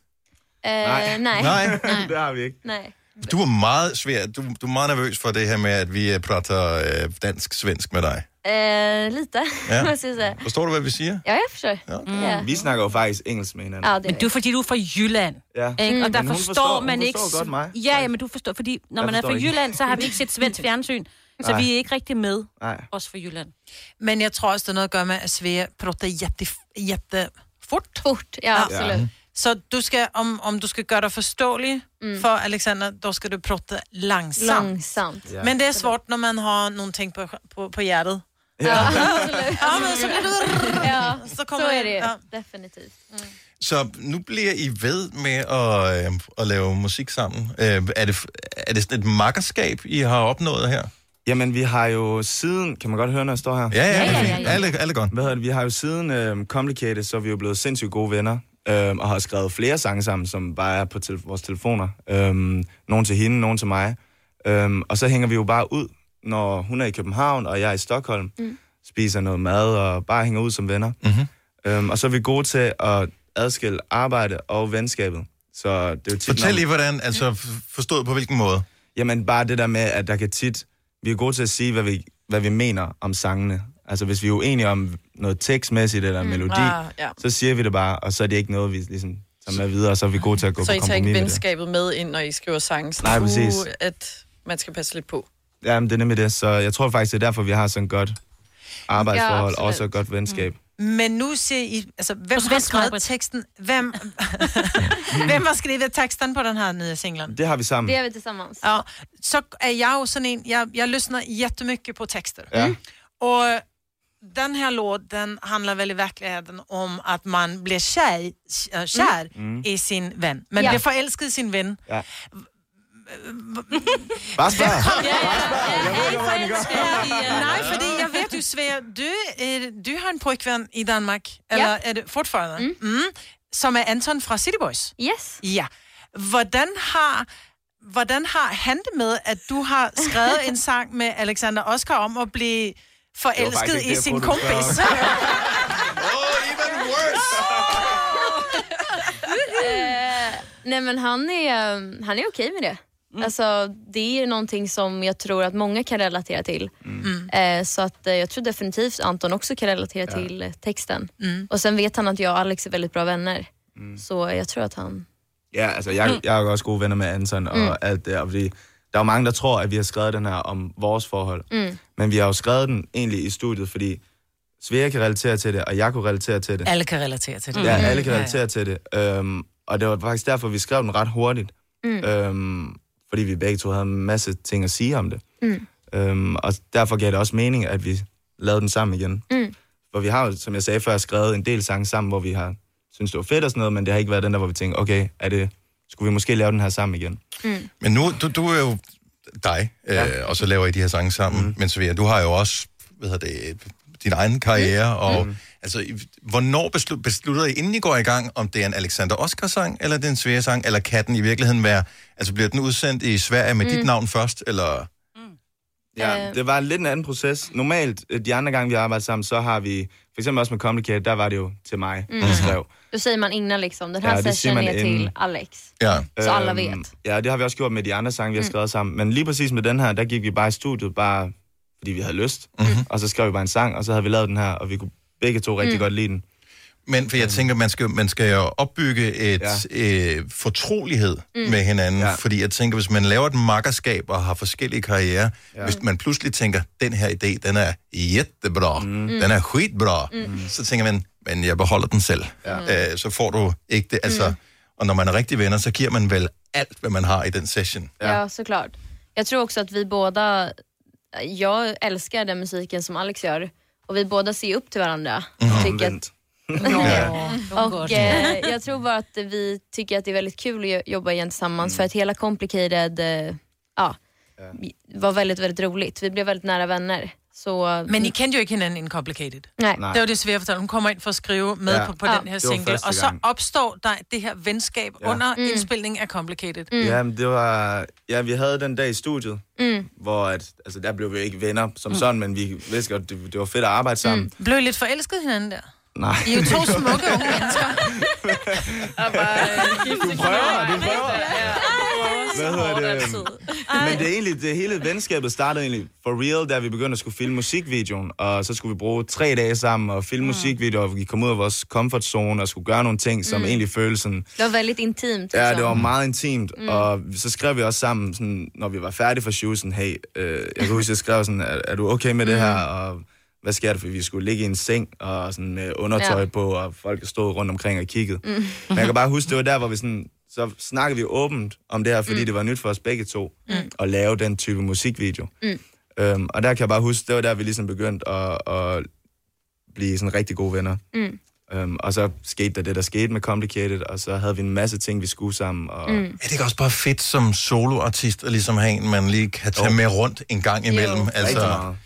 Speaker 13: Eh, nej.
Speaker 1: Øh,
Speaker 13: [laughs]
Speaker 1: Nej.
Speaker 13: nej.
Speaker 12: [laughs] det har vi ikke.
Speaker 13: nej.
Speaker 1: Du er meget svær. Du, du er meget nervøs for det her med, at vi øh, prater øh, dansk-svensk med dig.
Speaker 13: Eh, lite, [laughs]
Speaker 1: Ja.
Speaker 13: måste jag säga.
Speaker 1: Forstår du, hvad vi siger?
Speaker 13: Ja, jag förstår. Mm. Ja.
Speaker 12: Vi snakker jo faktisk engelsk med hinanden.
Speaker 13: Ja, det
Speaker 4: Men du, fordi du er Mm. fra Jylland,
Speaker 12: Ja.
Speaker 4: ikke? og der forstår,
Speaker 12: Men hun forstår- hun
Speaker 4: man ikke...
Speaker 12: forstår godt mig.
Speaker 4: Ja, ja, men du forstår, fordi når
Speaker 12: Jeg
Speaker 4: man er fra
Speaker 12: forstår ikke.
Speaker 4: Jylland, så har vi ikke set svensk fjernsyn, så
Speaker 12: Nej.
Speaker 4: vi er ikke rigtig med,
Speaker 12: Nej.
Speaker 4: også fra Jylland.
Speaker 2: Men jeg tror også, det er noget at gøre med, at Svea prater jätte, jätte fort.
Speaker 13: Fort, ja, absolut. Ja.
Speaker 2: Så du skal, om, om du skal gøre dig forståelig mm. for Alexander, då skal du prata langsomt.
Speaker 13: Långsamt.
Speaker 2: Ja. Men det er svårt, når man har någonting på, på, på hjertet.
Speaker 13: Ja,
Speaker 2: Ja, men så blir det...
Speaker 13: Ja,
Speaker 2: Så
Speaker 13: så,
Speaker 2: kommer
Speaker 13: är
Speaker 2: det.
Speaker 13: det ju.
Speaker 2: Ja.
Speaker 13: Definitivt.
Speaker 1: Så nu bliver I ved med at, øh, at lave musik sammen. Øh, er, det, er det sådan et makkerskab, I har opnået her?
Speaker 12: Jamen, vi har jo siden... Kan man godt høre, når jeg står her?
Speaker 1: Ja, ja, Ja, ja, ja, ja. Alle- alle godt.
Speaker 12: Hvad hedder det? Vi har jo siden øh, Complicated, så er vi jo blevet sindssygt gode venner. Øh, og har skrevet flere sange sammen, som bare er på tel- vores telefoner. Øh, nogle til hende, nogle til mig. Øh, og så hænger vi jo bare ud, når hun er i København, og jeg er i Stockholm. Mm. Spiser noget mad og bare hænger ud som venner.
Speaker 1: Mm-hmm.
Speaker 12: Øhm, og så er vi gode til at adskille arbejde og venskabet. Så det er jo tit,
Speaker 1: Fortæl
Speaker 12: når-
Speaker 1: lige, hvordan, altså f- forstået på hvilken måde?
Speaker 12: Jamen bare det der med, at der kan tit... Vi er gode til at sige, hvad vi, hvad vi mener om sangene. Altså hvis vi er uenige om noget tekstmæssigt eller mm, melodi,
Speaker 3: ah, ja.
Speaker 12: så siger vi det bare, og så er det ikke noget, vi ligesom tager med videre, og så er vi gode til at gå
Speaker 3: Så
Speaker 12: på
Speaker 3: I tager
Speaker 12: kompromis
Speaker 3: ikke
Speaker 12: med det.
Speaker 3: venskabet med ind, når I skriver sange? Sådan,
Speaker 12: Nej, præcis.
Speaker 3: Uh, at man skal passe lidt på.
Speaker 12: Jamen det er nemlig det, så jeg tror faktisk, det er derfor, vi har sådan et godt arbejdsforhold,
Speaker 2: absolut.
Speaker 12: og også et godt
Speaker 3: Mm.
Speaker 12: venskab.
Speaker 2: Mm. Men nu ser I, altså, hvem har
Speaker 4: svensk,
Speaker 2: skrevet
Speaker 4: Maj-Brit.
Speaker 2: teksten?
Speaker 12: [laughs]
Speaker 2: Hvem, hvem har skrevet teksten på den her nya singeln?
Speaker 12: Det har vi sammen.
Speaker 13: Det är vi tillsammans.
Speaker 2: Ja, så är jag ju sån en, jag, jag lyssnar jättemycket på texter.
Speaker 12: Ja.
Speaker 2: Och den här låten handlar väl i verkligheten om att man blir kär, äh, kär
Speaker 12: Mm.
Speaker 2: i sin vän. Man
Speaker 12: Ja.
Speaker 2: blir förälskad i sin vän.
Speaker 12: Ja. Bare spørg.
Speaker 14: øh?
Speaker 2: Nej, för det, jag vet ju Svea, du, är, du har en pojkvän i Danmark, eller är det fortfarande? Mm. Som är Anton från City Boys.
Speaker 13: Yes.
Speaker 2: Ja. Hvordan har, hvordan har han det med, at du har skrevet
Speaker 13: [laughs]
Speaker 2: en sang med Alexander Oskar om at blive
Speaker 12: faktisk
Speaker 2: forelsket
Speaker 12: ikke
Speaker 2: i
Speaker 12: det, jeg
Speaker 2: sin
Speaker 12: troede, du [laughs]
Speaker 2: kompis?
Speaker 12: spørger
Speaker 13: Eh, nej men han är, eh, han är okej med det.
Speaker 2: Mm.
Speaker 13: Alltså, det är någonting som jag tror att många kan relatera till.
Speaker 14: Mm.
Speaker 13: Eh, så att, eh, jag tror definitivt Anton också kan relatera
Speaker 2: Ja.
Speaker 13: till eh, texten.
Speaker 2: Mm.
Speaker 13: Och sen vet han att jag och Alex är väldigt bra vänner. Så jag tror att han...
Speaker 12: Ja, altså jeg, jeg er jo også gode venner med Anton og
Speaker 13: Mm.
Speaker 12: alt det, og fordi der er jo mange, der tror, at vi har skrevet den her om vores forhold.
Speaker 13: Mm.
Speaker 12: Men vi har jo skrevet den egentlig i studiet, fordi Svea kan relatere til det, og jeg kunne relatere til det.
Speaker 2: Alle kan relatere til det.
Speaker 12: Ja, alle kan relatere til det. Øhm, og det var faktisk derfor, vi skrev den ret hurtigt.
Speaker 13: Mm.
Speaker 12: Øhm, fordi vi begge to havde en masse ting at sige om det.
Speaker 13: Mm.
Speaker 12: Øhm, og derfor gav det også mening, at vi lavede den sammen igen.
Speaker 13: Mm.
Speaker 12: For vi har jo, som jeg sagde før, skrevet en del sange sammen, hvor vi har synes det var fedt og sådan noget, men det har ikke været den der, hvor vi tænkte, okay, er det, skulle vi måske lave den her sammen igen?
Speaker 13: Mm.
Speaker 1: Men nu, du, du er jo dig, øh, ja. og så laver I de her sange sammen. Mm. Men Svea, du har jo også, hvad hedder det, din egen karriere, mm. og mm. altså, i- hvornår beslu- beslutter I, inden I går i gang, om det er en Alexander Oscar-sang, eller det er en Svea-sang, eller kan den i virkeligheden være, altså bliver den udsendt i Sverige med mm. dit
Speaker 12: Mm.
Speaker 1: navn først, eller...
Speaker 12: Ja,
Speaker 2: Øhm.
Speaker 13: Øh.
Speaker 12: det var lidt en anden proces. Normalt, øh, de andre gange, vi arbejdede sammen, så har vi, for eksempel også med Complicated, der var det jo til mig,
Speaker 13: Mm.
Speaker 12: mm.
Speaker 2: Mhm.
Speaker 12: der skrev.
Speaker 13: Då säger man innan liksom, den här
Speaker 12: Ja, det siger
Speaker 13: sessionen
Speaker 12: man Ehm,
Speaker 13: är
Speaker 12: inden.
Speaker 13: till Alex.
Speaker 1: Ja.
Speaker 13: Så alle ved.
Speaker 12: Øhm, Ja, det har vi også gjort med de andre sange, vi har
Speaker 13: Mm.
Speaker 12: skrevet sammen. Men lige præcis med den her, der gik vi bare i studiet, bare
Speaker 1: Mhm.
Speaker 12: fordi vi havde lyst. Mm. Og så skrev vi bare en sang, og så havde vi lavet den Øhm. her, og vi kunne begge to rigtig
Speaker 13: Mm.
Speaker 12: godt lide den.
Speaker 1: Men for jeg tænker, man skal, man skal jo opbygge et ja. øh, fortrolighed
Speaker 14: Mm.
Speaker 1: mm. med hinanden. Ja. Fordi jeg tænker, hvis man laver et makkerskab og har forskellige karrierer, ja. hvis man pludselig tænker, den her idé, den er jättebra, mm. den er skitbra,
Speaker 14: Mm.
Speaker 1: mm. så tænker man, men jeg beholder den selv. Ja. Øh, så får du ikke det. Altså, mm. Og når man er rigtig venner, så giver man vel alt, hvad man har i den session.
Speaker 13: Ja. såklart. Jag tror också att vi båda, jag älskar den musiken som Alex gör och vi båda ser upp till varandra. och tycker att, och eh, jag tror bara att vi tycker att det är väldigt kul att jo- jobba igen tillsammans för att hela Complicated, eh, ja, var väldigt, väldigt roligt. Vi blev väldigt nära vänner. Så,
Speaker 2: Men I kendte jo ikke hinanden inden Complicated.
Speaker 13: Nej.
Speaker 2: Det var det svære fortælle. Hun kommer ind for at skrive med
Speaker 13: Ja.
Speaker 2: ja. på, på
Speaker 13: Ja.
Speaker 2: den her
Speaker 12: Det var
Speaker 2: single,
Speaker 12: første
Speaker 2: og så
Speaker 12: gang.
Speaker 2: opstår der det her venskab
Speaker 12: Ja.
Speaker 2: ja. under
Speaker 12: Mm.
Speaker 2: mm. indspilningen af Complicated.
Speaker 12: Mm. Jamen, det var... Ja, vi havde den dag i studiet,
Speaker 2: Mm.
Speaker 12: hvor at, altså, der blev vi ikke venner som
Speaker 2: Mm.
Speaker 12: sådan, men vi vidste godt, det, det var fedt at arbejde sammen. Mm.
Speaker 2: Blev I lidt forelsket i hinanden der?
Speaker 12: Nej.
Speaker 2: Mm. I er jo to smukke unge mennesker.
Speaker 12: Du prøver, du prøver. Hvad hedder det? Men det, er egentlig, det hele venskabet startede egentlig for real, da vi begyndte at skulle filme musikvideoen. Og så skulle vi bruge tre dage sammen og filme mm. musikvideoer, og vi kom ud af vores comfort zone og skulle gøre nogle ting, som
Speaker 13: Mm.
Speaker 12: mm. egentlig føles sådan...
Speaker 13: det var väldigt intimt.
Speaker 12: Ja,
Speaker 13: liksom.
Speaker 12: det var meget intimt,
Speaker 13: Mm.
Speaker 12: mm. og så skrev vi også sammen, sådan, når vi var færdige for show, sådan, hey, øh, jeg kan huske, jeg skrev sådan, er, er du okay med det her, og hvad sker der, for vi skulle ligge i en seng, og sådan med undertøj
Speaker 14: Ja.
Speaker 12: ja. på, og folk stod rundt omkring og kiggede. Mm. Men jeg kan bare huske, det var der, hvor vi sådan, så snakkede vi åbent om det her, fordi mm. det var nyt for os begge to,
Speaker 14: Mm.
Speaker 12: at lave den type musikvideo.
Speaker 14: Mm.
Speaker 12: Øhm, og der kan jeg bare huske, det var der, vi ligesom begyndte at, at blive sådan rigtig gode venner.
Speaker 13: Mm.
Speaker 12: Øhm, og så skete der det, der skete med Complicated, og så havde vi en masse ting, vi skulle sammen. Og...
Speaker 1: Mm. Er det ikke også bare fedt som soloartist at ligesom have en, man lige kan tage med rundt en gang imellem? Altså,
Speaker 13: Jo.
Speaker 12: Rigtig meget.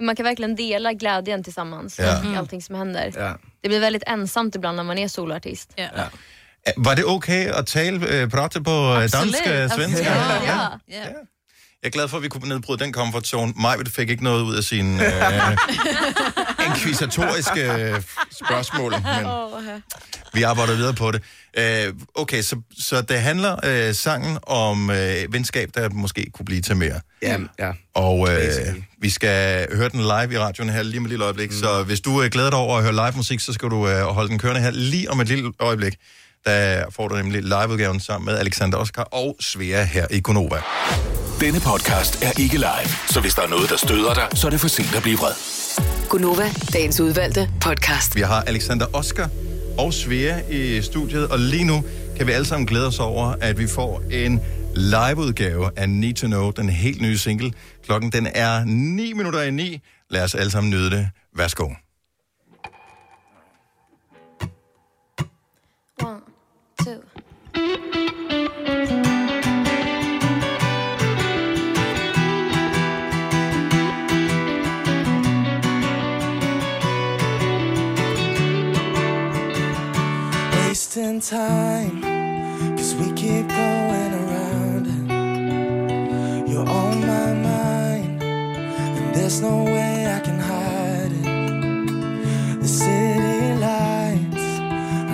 Speaker 13: Man kan verkligen dela glädjen tillsammans,
Speaker 1: Ja.
Speaker 13: med allting som händer.
Speaker 12: Ja.
Speaker 13: Det blir väldigt ensamt ibland när man är soloartist.
Speaker 1: Ja. Var det okay at tale, øh, prate på øh, dansk, øh, svensk?
Speaker 13: Ja. Ja.
Speaker 1: Jeg er glad for, at vi kunne nedbryde den comfort zone. Majbet fik ikke noget ud af sine øh, inkvisatoriske øh, spørgsmål, men vi arbejder videre på det. Øh, okay, så, så det handler øh, sangen om øh, venskab, der måske kunne blive til mere.
Speaker 12: Ja, ja.
Speaker 1: Og øh, vi skal høre den live i radioen her lige om et lille øjeblik. Mm. Så hvis du øh, glæder dig over at høre live musik, så skal du øh, holde den kørende her lige om et lille øjeblik. Der får du nemlig liveudgaven sammen med Alexander Oskar og Svea her i Gonova.
Speaker 7: Denne podcast er ikke live, så hvis der er noget, der støder dig, så er det for sent at blive vred.
Speaker 6: Gunova, dagens udvalgte podcast.
Speaker 1: Vi har Alexander Oskar og Svea i studiet, og lige nu kan vi alle sammen glæde os over, at vi får en liveudgave af Need to Know, den helt nye single. Klokken den er 9 minutter i 9. Lad os alle sammen nyde det. Værsgo.
Speaker 13: One, two.
Speaker 14: wasting time Cause we keep going around You're on my mind And there's no way I can hide it The city lights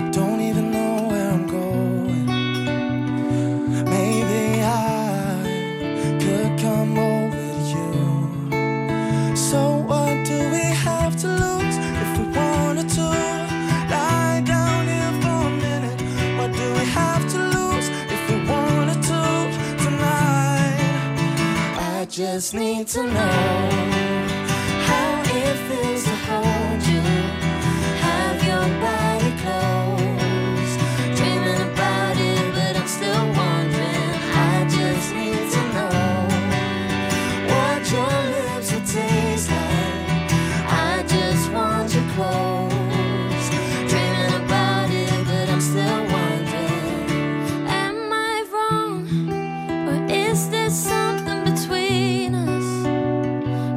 Speaker 14: I don't even know where I'm going Maybe I could come over to you So what do we have to lose if we wanted to? Lie down here for a minute. What do we have to lose if we wanted to tonight? I just need to know how it feels to hold you. Have your body close. Dreaming about it, but I'm still wondering. I just need to know what your lips will taste like. I just want you close. Dreaming about it, but I'm still wondering. Am I wrong, or is there something between us?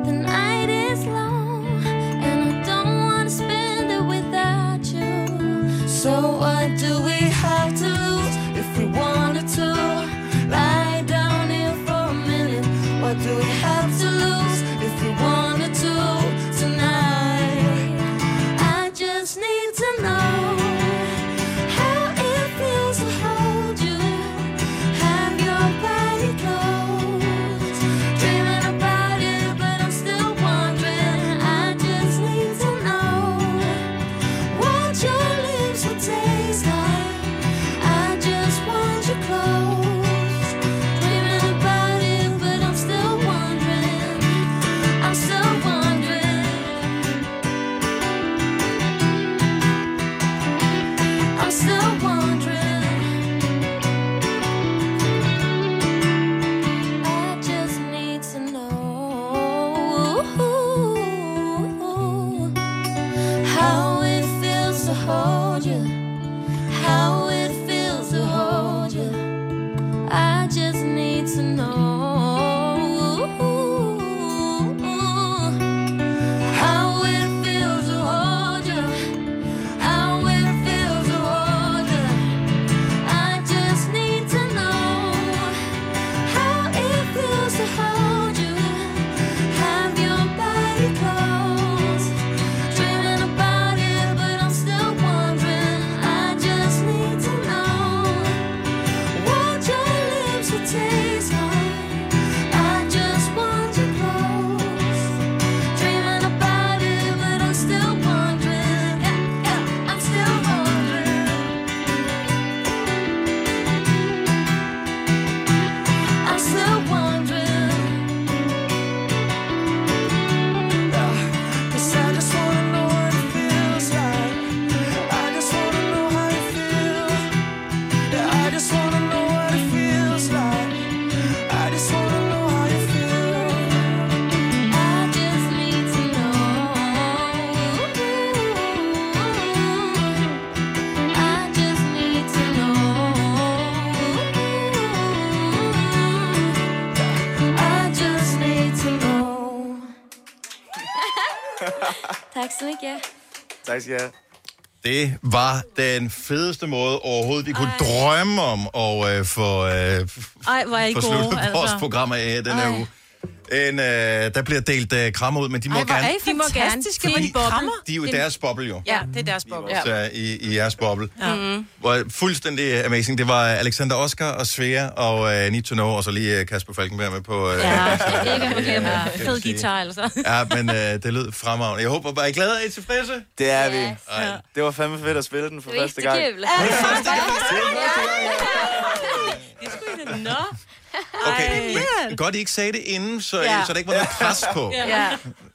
Speaker 14: The night is long, and I don't want to spend it without you. So what do we have to lose if we wanted to? Lie down here for a minute. What do we have to lose if we wanted to tonight? I just need to know how it feels to hold you, have your body close. Dreaming about it, but I'm still wondering. I just need to know what your lips.
Speaker 13: Tack så mycket.
Speaker 12: Tak skal jeg have.
Speaker 1: Det var den fedeste måde overhovedet, vi kunne Ej. drømme om at øh, få, øh,
Speaker 4: Ej, hvor er I
Speaker 1: få
Speaker 4: gode,
Speaker 1: sluttet
Speaker 4: altså.
Speaker 1: vores program af den her
Speaker 4: Ej.
Speaker 1: uge. En, øh, der bliver delt øh, krammer ud, men de må
Speaker 2: Ej, hvor
Speaker 1: gerne...
Speaker 2: er I
Speaker 4: De må gerne.
Speaker 2: fantastiske,
Speaker 4: De-
Speaker 2: hvor de krammer.
Speaker 1: de er jo i deres boble, jo.
Speaker 2: Ja, det er deres boble.
Speaker 1: Ja. I, i jeres boble.
Speaker 2: Ja.
Speaker 1: Mm. Var fuldstændig amazing. Det var Alexander Oskar og Svea og øh, Need to Know, og så lige øh, Kasper Falkenberg med på... Øh,
Speaker 4: Ja, ikke at glemme.
Speaker 1: Ja, kan
Speaker 4: Fed
Speaker 1: vi sige.
Speaker 4: guitar, altså.
Speaker 1: ja, men øh, det lød fremragende. Jeg håber, at I er glade, og I er tilfredse.
Speaker 12: Det er vi.
Speaker 1: Ej.
Speaker 12: Det var fandme fedt at spille den for første
Speaker 13: Det
Speaker 12: gang.
Speaker 13: är kul.
Speaker 4: Nå.
Speaker 1: Okay, men godt, I ikke sagde det inden, så,
Speaker 12: Ja.
Speaker 1: ja. så der ikke var noget pres på.
Speaker 2: Ja.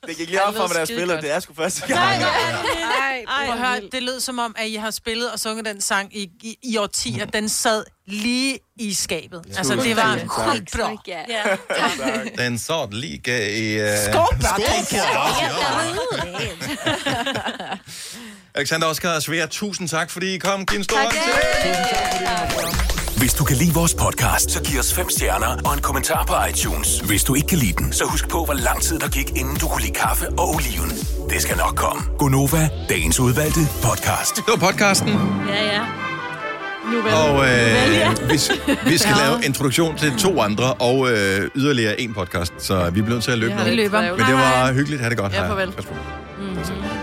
Speaker 12: Det gik lige op for mig, da jeg spillede. Det er sgu første gang. [laughs]
Speaker 2: Ej, prøv at høre, det lød som om, at I har spillet og sunget den sang i, i, i årtier. Den sad lige i skabet. Ja. Altså, det var
Speaker 1: Tusind tak.
Speaker 2: helt bra.
Speaker 13: Ja.
Speaker 1: Den sad lige i... Øh,
Speaker 2: Skorpbørn.
Speaker 1: Alexander Oskar og Svea, tusind tak, fordi I kom. Giv en stor hånd til.
Speaker 7: Hvis du kan lide vores podcast, så giv os fem stjerner og en kommentar på iTunes. Hvis du ikke kan lide den, så husk på, hvor lang tid der gik, inden du kunne lide kaffe og oliven. Det skal nok komme. Gonova, dagens udvalgte podcast.
Speaker 1: Det var podcasten,
Speaker 4: Ja, ja. Nu vel.
Speaker 1: og
Speaker 4: Nuvel, ja.
Speaker 1: øh, vi, s-
Speaker 4: [laughs]
Speaker 1: vi skal
Speaker 4: Ja.
Speaker 1: lave introduktion til to andre, og øh, yderligere en podcast, så vi bliver nødt til at løbe
Speaker 2: Ja,
Speaker 1: noget.
Speaker 2: vi løber.
Speaker 1: Men det
Speaker 2: Hej, hej.
Speaker 1: var hyggeligt. Ha' det godt.
Speaker 2: Ja,
Speaker 1: Hej.
Speaker 2: farvel.
Speaker 1: Pas på.
Speaker 2: Mm-hmm.